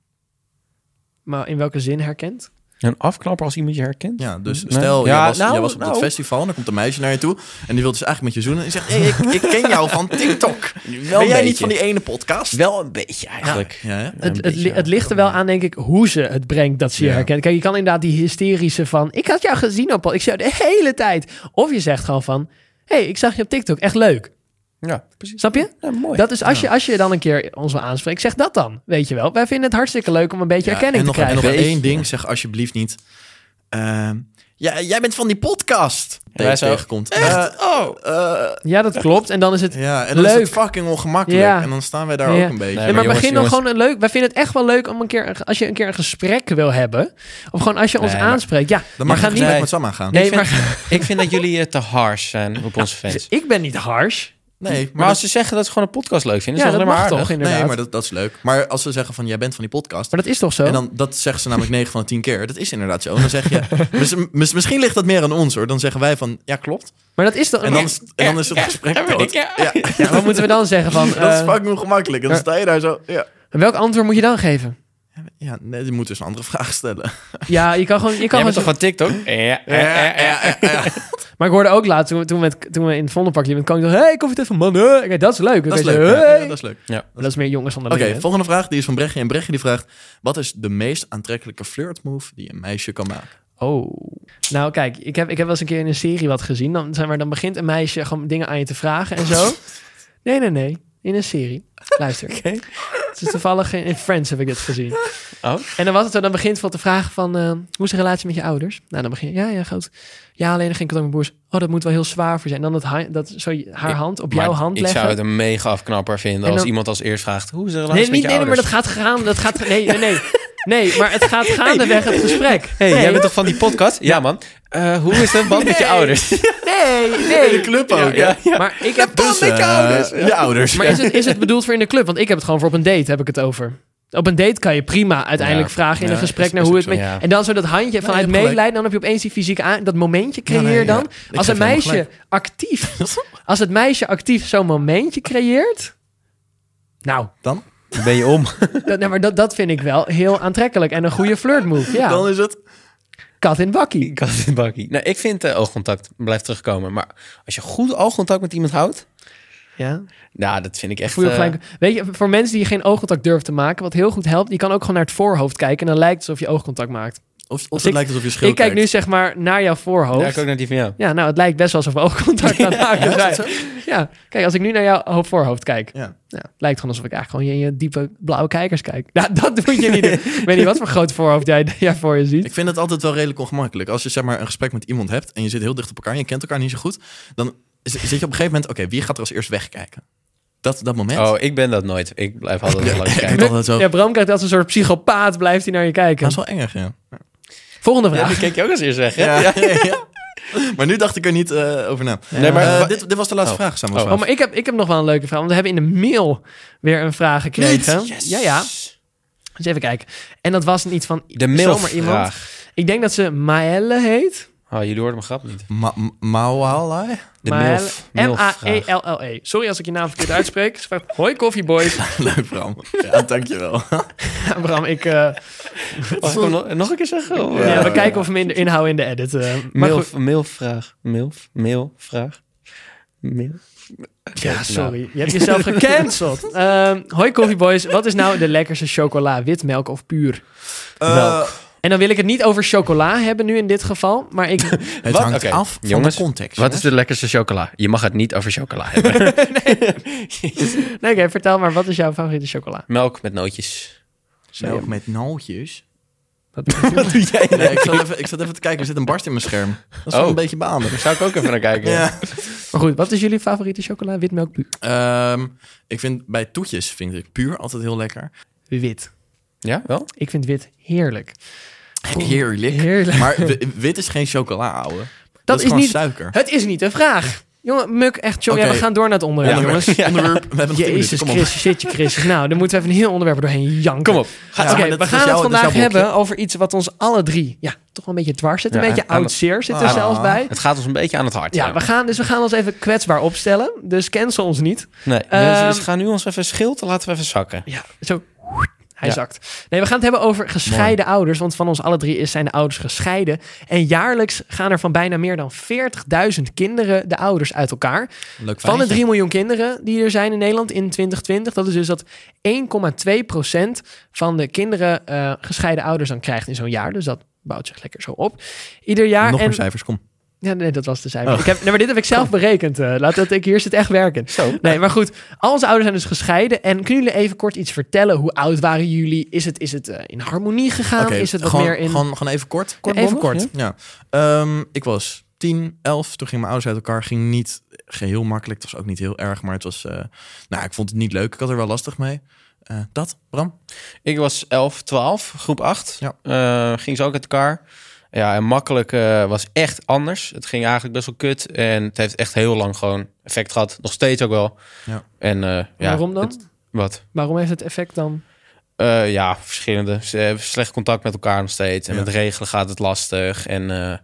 Speaker 3: Maar in welke zin herkend?
Speaker 1: Een afknapper als iemand je herkent?
Speaker 2: Ja, dus
Speaker 1: Nee.
Speaker 2: stel,
Speaker 1: Ja,
Speaker 2: jij, was,
Speaker 1: nou,
Speaker 2: jij was op
Speaker 1: nou.
Speaker 2: dat festival en dan komt een meisje naar je toe... en die wil dus eigenlijk met je zoenen en die zegt... Hey, ik, ik ken jou van TikTok. ben jij niet
Speaker 1: beetje.
Speaker 2: van die ene podcast?
Speaker 1: Wel een beetje eigenlijk.
Speaker 2: Ja, hè?
Speaker 3: Het, het,
Speaker 1: beetje,
Speaker 3: li- het ligt er wel aan, denk ik, hoe ze het brengt dat ze je
Speaker 2: Ja.
Speaker 3: herkent. Kijk, je kan inderdaad die hysterische van... ik had jou gezien op... ik zie jou de hele tijd. Of je zegt gewoon van... hey, ik zag je op TikTok. Echt leuk.
Speaker 1: Ja, precies.
Speaker 3: Snap je?
Speaker 1: Ja, mooi.
Speaker 3: Dat is als, je, als je dan een keer ons wil aanspreken, zeg dat dan. Weet je wel. Wij vinden het hartstikke leuk om een beetje
Speaker 2: Ja,
Speaker 3: erkenning
Speaker 2: en nog,
Speaker 3: te
Speaker 2: en
Speaker 3: krijgen.
Speaker 2: nog
Speaker 1: Beetje.
Speaker 2: één ding, zeg alsjeblieft niet... ehm, ja, jij bent van die podcast.
Speaker 1: wij
Speaker 2: Die je
Speaker 1: zo,
Speaker 2: tegenkomt. Echt? oh.
Speaker 1: Eh,
Speaker 3: Ja, dat klopt. En dan is het...
Speaker 2: ja, en dan is het
Speaker 3: Leuk.
Speaker 2: fucking ongemakkelijk.
Speaker 3: Ja.
Speaker 2: En dan staan wij daar
Speaker 3: Ja.
Speaker 2: ook een beetje.
Speaker 3: Nee, maar,
Speaker 1: jongens,
Speaker 3: begin dan
Speaker 1: jongens.
Speaker 3: gewoon een leuk. Wij vinden het echt wel leuk om een keer, als je een keer een gesprek wil hebben. Of gewoon als je ons
Speaker 1: Nee, maar-
Speaker 3: aanspreekt. Ja,
Speaker 2: Dan
Speaker 3: maar
Speaker 2: mag je
Speaker 3: ga
Speaker 2: niet
Speaker 3: niet.
Speaker 1: Nee.
Speaker 2: met Sam gaan.
Speaker 3: Nee,
Speaker 1: ik, vind,
Speaker 3: maar
Speaker 1: ik vind dat jullie eh, te harsh zijn op onze fans.
Speaker 3: Dus ik ben niet harsh.
Speaker 2: Nee, maar,
Speaker 1: Maar
Speaker 2: dat,
Speaker 1: als ze zeggen dat ze gewoon een podcast leuk vinden, is
Speaker 3: ja,
Speaker 1: dat
Speaker 3: dat
Speaker 1: alleen maar
Speaker 3: mag
Speaker 1: aardig.
Speaker 3: toch inderdaad.
Speaker 2: nee, maar
Speaker 3: maar, dat...
Speaker 2: dat, dat is leuk. Maar als ze zeggen van, jij bent van die podcast...
Speaker 3: is toch zo?
Speaker 2: En dan, dat zeggen ze namelijk 9 van de 10 keer. Dat is inderdaad zo. En dan zeg je, mis- mis- misschien ligt dat meer aan ons hoor. Dan zeggen wij van, ja klopt.
Speaker 3: maar dat is toch.
Speaker 2: En dan, is- en dan is het gesprek dood. Ja,
Speaker 3: Ja, wat moeten we dan zeggen van?
Speaker 2: dat is
Speaker 3: eh,
Speaker 2: fucking ongemakkelijk. En dan
Speaker 3: ja.
Speaker 2: sta je daar zo, ja.
Speaker 3: welk antwoord moet je dan geven?
Speaker 2: Ja, nee, je moet dus een andere vraag stellen.
Speaker 3: Ja, je kan gewoon. Je
Speaker 1: Jij
Speaker 3: kan gewoon
Speaker 1: bent toch van TikTok? Ja, ja, ja, ja.
Speaker 3: Maar ik hoorde ook laat toen, toen, we met, toen we in het Vondelpark liepen, kwam ik dacht, hey, koffie van man, hè? Kijk, dat is leuk.
Speaker 2: Dat is
Speaker 3: Weet je,
Speaker 2: leuk. Ja,
Speaker 3: hey.
Speaker 2: ja, dat is leuk.
Speaker 3: dat is meer jongens van de
Speaker 2: Oké,
Speaker 3: Linden.
Speaker 2: volgende vraag. Die is van Brechtje. En Brechtje die vraagt, wat is de meest aantrekkelijke flirtmove die een meisje kan maken?
Speaker 3: Oh. Nou, kijk, ik heb, ik heb wel eens een keer in een serie wat gezien. Dan, zijn maar, dan begint een meisje gewoon dingen aan je te vragen en zo. Nee, nee, nee. In een serie. Luister. Het is toevallig in, in Friends heb ik het gezien.
Speaker 1: Oh.
Speaker 3: En dan was het zo, dan begint van te vragen van... eh, hoe is de relatie met je ouders? Nou, dan begin je... Ja, ja, goed. Ja, alleen geen contact met broers. Oh, dat moet wel heel zwaar voor zijn. En dan dat, ha- dat, zo, je- haar
Speaker 1: Ik-
Speaker 3: hand op
Speaker 1: Maar
Speaker 3: jouw hand
Speaker 1: ik
Speaker 3: leggen.
Speaker 1: zou het een mega afknapper vinden
Speaker 3: En
Speaker 1: als
Speaker 3: dan-
Speaker 1: iemand als eerst vraagt... Hoe is de relatie
Speaker 3: Nee, niet,
Speaker 1: met
Speaker 3: nee,
Speaker 1: je
Speaker 3: nee, maar dat
Speaker 1: ouders?
Speaker 3: gaat gaan. Dat gaat, nee, nee, nee. Nee, maar het gaat gaandeweg het gesprek.
Speaker 1: Hey,
Speaker 3: nee,
Speaker 1: jij bent toch van die podcast? Ja, man. Eh, hoe is het band met je
Speaker 3: Nee.
Speaker 1: ouders?
Speaker 3: nee, nee.
Speaker 2: De club ook,
Speaker 1: ja.
Speaker 3: Maar ik heb...
Speaker 2: Dus, eh, je ouders.
Speaker 3: Maar is het, is het bedoeld voor in de club? Want ik heb het gewoon voor op een date, heb ik het over. Op een date kan je prima uiteindelijk
Speaker 1: Ja.
Speaker 3: vragen in
Speaker 2: Ja,
Speaker 3: een gesprek
Speaker 2: is-
Speaker 3: naar
Speaker 2: is
Speaker 3: hoe
Speaker 2: ook
Speaker 3: het...
Speaker 1: zo,
Speaker 3: met-
Speaker 1: ja.
Speaker 3: En dan zo dat handje vanuit
Speaker 2: hebt gelijk.
Speaker 3: meeleiden, dan heb je opeens die fysiek aan... Dat momentje creëer
Speaker 2: nee, ja.
Speaker 3: dan.
Speaker 2: Ik
Speaker 3: Als
Speaker 2: geef
Speaker 3: een
Speaker 2: helemaal
Speaker 3: meisje actief... Als het meisje actief zo'n momentje creëert... Nou,
Speaker 2: Dan?
Speaker 1: ben je om?
Speaker 3: dat, nee, maar dat, dat vind ik wel heel aantrekkelijk. En een goede flirtmove, ja.
Speaker 2: Dan is het...
Speaker 3: Kat in bakkie.
Speaker 1: Ik had het bakkie. Nou, ik vind eh, oogcontact blijft terugkomen. Maar als je goed oogcontact met iemand houdt...
Speaker 3: Ja.
Speaker 1: Nou, dat vind ik echt...
Speaker 3: Voel je
Speaker 1: eh,
Speaker 3: gelijk- Weet je, voor mensen die geen oogcontact durven te maken, wat heel goed helpt, die kan ook gewoon naar het voorhoofd kijken en dan lijkt het alsof je oogcontact maakt.
Speaker 2: Of, of
Speaker 3: Als
Speaker 2: het
Speaker 3: ik-
Speaker 2: lijkt alsof je schil
Speaker 3: Ik kijk nu zeg maar naar jouw
Speaker 1: Ja,
Speaker 3: voorhoofd.
Speaker 1: ik ook naar die van jou.
Speaker 3: Ja, nou, het lijkt best wel alsof we oogcontact aan het houden
Speaker 2: Ja,
Speaker 3: zijn.
Speaker 2: is dat
Speaker 3: Ja, kijk, als ik nu naar jouw ho- voorhoofd kijk,
Speaker 2: Ja.
Speaker 3: ja, het lijkt gewoon alsof ik eigenlijk gewoon in je diepe blauwe kijkers kijk. Nou, dat moet je niet doen. Ik weet niet wat voor groot voorhoofd jij, jij voor je ziet.
Speaker 2: Ik vind het altijd wel redelijk ongemakkelijk. Als je zeg maar een gesprek met iemand hebt en je zit heel dicht op elkaar en je kent elkaar niet zo goed, dan z- zit je op een gegeven moment, oké, wie gaat er als eerst wegkijken? Dat, dat moment.
Speaker 1: Oh, ik ben dat nooit. Ik blijf altijd wel lang
Speaker 2: ik
Speaker 1: kijken.
Speaker 2: doe altijd zo.
Speaker 3: Ja, Bram kijkt als een soort psychopaat, blijft hij naar je kijken.
Speaker 2: Dat is wel engig, ja.
Speaker 3: Volgende
Speaker 1: Ja,
Speaker 3: vraag.
Speaker 1: die keek je ook als eerst weg, hè?
Speaker 2: Ja, ja, ja. Maar nu dacht ik er niet eh, over na.
Speaker 1: Nee, maar
Speaker 2: Eh,
Speaker 1: wa-
Speaker 2: dit, dit was de laatste
Speaker 1: Oh.
Speaker 2: vraag, Samuel.
Speaker 1: Oh.
Speaker 3: Oh, maar ik heb, ik heb nog wel een leuke vraag. Want we hebben in de mail weer een vraag gekregen. Ja, ja. Dus even kijken. En dat was niet van
Speaker 1: De
Speaker 3: zomaar iemand.
Speaker 1: mailvraag.
Speaker 3: Ik denk dat ze Maelle heet.
Speaker 1: Oh, jullie hoorden mijn grap niet.
Speaker 2: Ma- ma- Mauwalai?
Speaker 1: De
Speaker 3: Maelle-
Speaker 1: milf.
Speaker 3: E
Speaker 1: milvraag.
Speaker 3: M-A-E-L-L-E. Sorry als ik je naam verkeerd uitspreek. Ze vraagt, hoi koffieboys.
Speaker 2: Leuk, Bram. Eh, Ja, dankjewel.
Speaker 3: Ja, Bram, ik, eh,
Speaker 1: Mag Oh, ik hem nog, nog een keer zeggen? Of,
Speaker 3: ja,
Speaker 1: eh,
Speaker 3: we kijken of we minder inhouden in de edit. eh. maar goed.
Speaker 1: Milf, mailvraag. Milf, mailvraag. Mail.
Speaker 3: Ja, nou. sorry. Je hebt jezelf gecanceld. Ehm, hoi koffieboys. Wat is nou de lekkerste chocola? Witmelk of puur?
Speaker 2: Eh,
Speaker 1: Welk?
Speaker 3: En dan wil ik het niet over chocola hebben nu in dit geval. Maar ik,
Speaker 2: het
Speaker 1: Wat?
Speaker 2: hangt
Speaker 1: Oké,
Speaker 2: af van
Speaker 1: jongens,
Speaker 2: de context.
Speaker 1: Wat is de lekkerste chocola? Je mag het niet over chocola hebben.
Speaker 3: Nee, oké, vertel maar, wat is jouw favoriete chocola?
Speaker 1: Melk met nootjes.
Speaker 2: Melk met nootjes?
Speaker 3: Wat-
Speaker 2: Nee, ik zat, even, ik zat even te kijken. Er zit een barst in mijn scherm. Dat is wel
Speaker 1: Oh.
Speaker 2: een beetje baandig.
Speaker 1: Daar zou ik ook even naar kijken.
Speaker 2: Ja.
Speaker 3: maar goed, wat is jullie favoriete chocola? Witmelk puur?
Speaker 2: Ehm, ik vind bij toetjes vind ik puur altijd heel lekker.
Speaker 3: Wit.
Speaker 1: Ja, wel?
Speaker 3: Ik vind wit heerlijk.
Speaker 2: Heerlijk.
Speaker 3: Heerlijk.
Speaker 2: Maar wi- wit is geen chocola, ouwe. Dat,
Speaker 3: Dat
Speaker 2: is
Speaker 3: is
Speaker 2: gewoon
Speaker 3: niet...
Speaker 2: suiker.
Speaker 3: Het is niet een vraag. Jongen, muk, echt, jongen,
Speaker 2: Oké.
Speaker 3: ja, we gaan door naar het onderwerp,
Speaker 2: Onderwerp.
Speaker 3: jongens.
Speaker 2: Onderwerp. We hebben nog tien minuten,
Speaker 3: Jezus
Speaker 2: kom op.
Speaker 3: Christus, shitje Christus. Nou, dan moeten we even een heel onderwerp er doorheen janken.
Speaker 1: Kom op.
Speaker 3: Oké,
Speaker 2: Ja, maar dat
Speaker 3: we
Speaker 2: is jouw-
Speaker 3: gaan
Speaker 2: dat is
Speaker 3: het
Speaker 2: jouw
Speaker 3: vandaag
Speaker 2: blokje.
Speaker 3: hebben over iets wat ons alle drie... Ja, toch wel een beetje dwars zit. Een
Speaker 1: Ja,
Speaker 3: beetje
Speaker 1: aan- aan-
Speaker 3: oud zeer zit er
Speaker 2: Ah.
Speaker 3: zelfs bij.
Speaker 1: Het gaat ons een beetje aan het hart.
Speaker 3: Ja, we gaan, dus we gaan ons even kwetsbaar opstellen. Dus cancel ons niet.
Speaker 1: Nee,
Speaker 3: Ehm,
Speaker 1: dus we gaan nu ons even schild, laten we even zakken.
Speaker 3: Ja, zo. Hij
Speaker 1: Ja.
Speaker 3: zakt. Nee, we gaan het hebben over gescheiden ouders. Want van ons alle drie is- zijn de ouders gescheiden. En jaarlijks gaan er van bijna meer dan 40.000 kinderen de ouders uit elkaar.
Speaker 2: Leuk
Speaker 3: Van de
Speaker 2: feitje.
Speaker 3: 3 miljoen kinderen die er zijn in Nederland in 2020. Dat is dus dat 1,2% van de kinderen eh, gescheiden ouders dan krijgt in zo'n jaar. Dus dat bouwt zich lekker zo op. Ieder jaar.
Speaker 2: Nog Oh.
Speaker 3: en,
Speaker 2: meer cijfers, kom.
Speaker 3: ja, nee, dat was de cijfer. Ik heb, nee, maar dit heb ik zelf berekend. eh. laat dat ik hier zit echt werken. Nee, maar goed. Al onze ouders zijn dus gescheiden. En kunnen jullie even kort iets vertellen? Hoe oud waren jullie? Is het, is het eh, in harmonie gegaan?
Speaker 2: Oké,
Speaker 3: is het wat
Speaker 2: gewoon,
Speaker 3: meer in...
Speaker 2: Gewoon, gewoon even kort.
Speaker 3: Ja, even kort.
Speaker 2: Ja. Ehm, ik was 10, 11. Toen gingen mijn ouders uit elkaar. Ging niet geheel makkelijk. Het was ook niet heel erg. Maar het was... eh, nou, ik vond het niet leuk. Ik had er wel lastig mee. Eh, dat, Bram?
Speaker 1: Ik was 11, 12, groep 8.
Speaker 2: Ja.
Speaker 1: Ja. ging ze ook uit elkaar. Ja, en makkelijk eh, was echt anders. Het ging eigenlijk best wel kut. En het heeft echt heel lang gewoon effect gehad. Nog steeds ook wel.
Speaker 2: Ja.
Speaker 1: En, eh, ja,
Speaker 3: Waarom dan?
Speaker 1: het- wat?
Speaker 3: Waarom heeft het effect dan?
Speaker 1: Eh, ja, verschillende. Ze hebben slecht contact met elkaar nog steeds. En
Speaker 2: Ja.
Speaker 1: met regelen gaat het lastig. En eh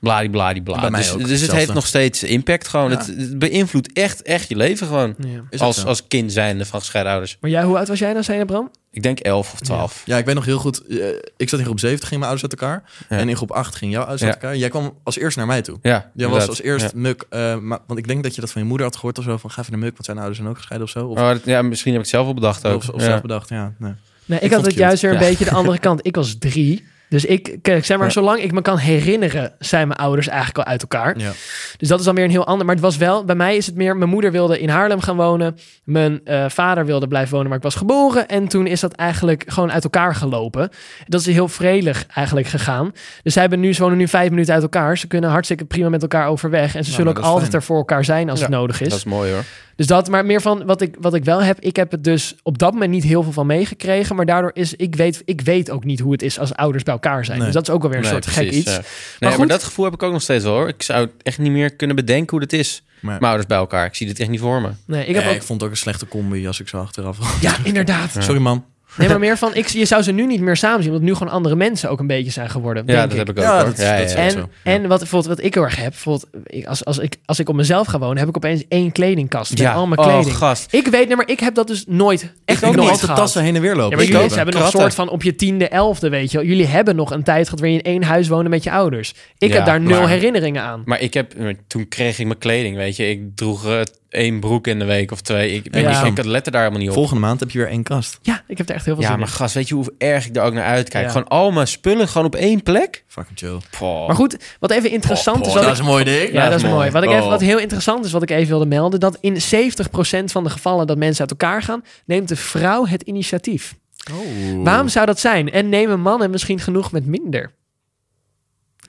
Speaker 1: bladibladibla.
Speaker 2: Bij mij
Speaker 1: Dus,
Speaker 2: ook
Speaker 1: dus het
Speaker 2: hetzelfde.
Speaker 1: heeft nog steeds impact gewoon.
Speaker 2: Ja.
Speaker 1: Het, het beïnvloedt echt, echt je leven gewoon.
Speaker 3: Ja.
Speaker 2: Is dat
Speaker 1: Als,
Speaker 2: zo?
Speaker 1: als kind zijnde van gescheiden ouders.
Speaker 3: Maar jij, hoe oud was jij nou, zei je, Bram?
Speaker 1: Ik denk 11 of 12.
Speaker 2: Ja, ik weet nog heel goed. eh, ik zat in groep 7, gingen mijn ouders uit elkaar.
Speaker 1: Ja.
Speaker 2: En in groep 8 ging jouw ouders
Speaker 1: Ja.
Speaker 2: uit elkaar. Jij kwam als eerst naar mij toe.
Speaker 1: Ja,
Speaker 2: Jij was
Speaker 1: inderdaad.
Speaker 2: als eerst
Speaker 1: Ja.
Speaker 2: muk. eh, maar, want ik denk dat je dat van je moeder had gehoord of zo. Van ga even naar muk, want zijn ouders zijn ook gescheiden of zo. Of,
Speaker 1: Oh, dat- ja, misschien heb ik het zelf al bedacht Oh, ook.
Speaker 2: of, of
Speaker 1: ja.
Speaker 2: zelf bedacht, ja. Nee.
Speaker 3: Nee, ik,
Speaker 2: Ik
Speaker 3: had
Speaker 2: vond
Speaker 3: het
Speaker 2: het
Speaker 3: juist weer een
Speaker 1: Ja.
Speaker 3: beetje de andere kant. Ik was drie. Dus ik, kijk, zeg maar,
Speaker 1: Ja.
Speaker 3: zolang ik me kan herinneren, zijn mijn ouders eigenlijk al uit elkaar.
Speaker 2: Ja.
Speaker 3: Dus dat is dan weer een heel ander. Maar het was wel, bij mij is het meer, mijn moeder wilde in Haarlem gaan wonen. Mijn eh, vader wilde blijven wonen, maar ik was geboren. En toen is dat eigenlijk gewoon uit elkaar gelopen. Dat is heel vredig eigenlijk gegaan. Dus zij hebben nu, ze wonen nu vijf minuten uit elkaar. Ze kunnen hartstikke prima met elkaar overweg. En ze
Speaker 2: Nou,
Speaker 3: zullen
Speaker 2: dat
Speaker 3: ook
Speaker 2: is
Speaker 3: altijd
Speaker 2: fijn.
Speaker 3: er voor elkaar zijn als
Speaker 1: Ja,
Speaker 3: het nodig is.
Speaker 1: Dat is mooi hoor.
Speaker 3: Dus dat, maar meer van wat ik, wat ik wel heb. Ik heb het dus op dat moment niet heel veel van meegekregen. Maar daardoor is, ik weet, ik weet ook niet hoe het is als ouders bij elkaar zijn.
Speaker 2: Nee.
Speaker 3: Dus dat is ook wel weer een
Speaker 1: Nee,
Speaker 3: soort gek
Speaker 1: precies,
Speaker 3: iets.
Speaker 1: ja. Nee,
Speaker 3: Maar
Speaker 1: maar,
Speaker 3: goed.
Speaker 1: dat gevoel heb ik ook nog steeds wel hoor. Ik zou echt niet meer kunnen bedenken hoe dat is.
Speaker 2: Maar,
Speaker 1: Mijn ouders bij elkaar. Ik zie dit echt niet voor me.
Speaker 3: Nee, ik
Speaker 2: ik,
Speaker 3: heb ook,
Speaker 2: ik vond het ook een slechte combi als ik zo achteraf.
Speaker 3: ja, inderdaad.
Speaker 2: Sorry, man.
Speaker 3: Nee, maar meer van, ik, je zou ze nu niet meer samen zien. Omdat nu gewoon andere mensen ook een beetje zijn geworden.
Speaker 1: Ja, dat
Speaker 3: denk ik.
Speaker 1: heb ik ook.
Speaker 2: Ja,
Speaker 1: hoor.
Speaker 2: dat is-
Speaker 1: ja,
Speaker 2: dat is-
Speaker 1: ja.
Speaker 3: En,
Speaker 2: zo. Ja.
Speaker 3: en wat, bijvoorbeeld, wat ik heel erg heb, bijvoorbeeld, ik, als, als, ik, als ik op mezelf ga wonen, heb ik opeens één kledingkast met
Speaker 1: Ja.
Speaker 3: al mijn
Speaker 1: Oh,
Speaker 3: kleding.
Speaker 1: gast.
Speaker 3: ik weet, nee, maar ik heb dat dus nooit, echt
Speaker 2: Ik
Speaker 3: ook
Speaker 2: heb
Speaker 3: nooit
Speaker 2: altijd
Speaker 3: gehad.
Speaker 2: tassen heen en weer
Speaker 3: Ja,
Speaker 2: lopen. eh,
Speaker 3: maar jullie
Speaker 1: ook.
Speaker 3: mensen hebben nog een soort
Speaker 1: Kratten.
Speaker 3: van op je tiende, elfde, weet je wel. Jullie hebben nog een tijd gehad waarin je in één huis woonde met je ouders. Ik
Speaker 1: Ja,
Speaker 3: heb daar nul
Speaker 1: maar-
Speaker 3: herinneringen aan.
Speaker 1: Maar ik heb, maar toen kreeg ik mijn kleding, weet je. Ik droeg eh, één broek in de week of twee. Ik, weet
Speaker 3: Ja.
Speaker 1: niet, ik kan letten daar helemaal niet op.
Speaker 2: Volgende maand heb je weer één kast.
Speaker 3: Ja, ik heb er echt heel veel
Speaker 1: ja,
Speaker 3: zin
Speaker 1: maar
Speaker 3: in.
Speaker 1: gast, weet je hoe erg ik daar ook naar uitkijk?
Speaker 3: Ja.
Speaker 1: Gewoon al mijn spullen gewoon op één plek?
Speaker 2: Fucking chill.
Speaker 1: Poh.
Speaker 3: Maar goed, wat even interessant
Speaker 1: Oh, oh,
Speaker 3: is... Wat
Speaker 1: dat
Speaker 3: ik-
Speaker 2: een mooi ding.
Speaker 3: ja, dat is mooi. Wat, ik even,
Speaker 1: Oh.
Speaker 3: wat heel interessant is, wat ik even wilde melden... dat in 70% van de gevallen dat mensen uit elkaar gaan... neemt de vrouw het initiatief. Oh,
Speaker 2: Oh,
Speaker 3: Waarom zou dat zijn? En nemen mannen misschien genoeg met minder?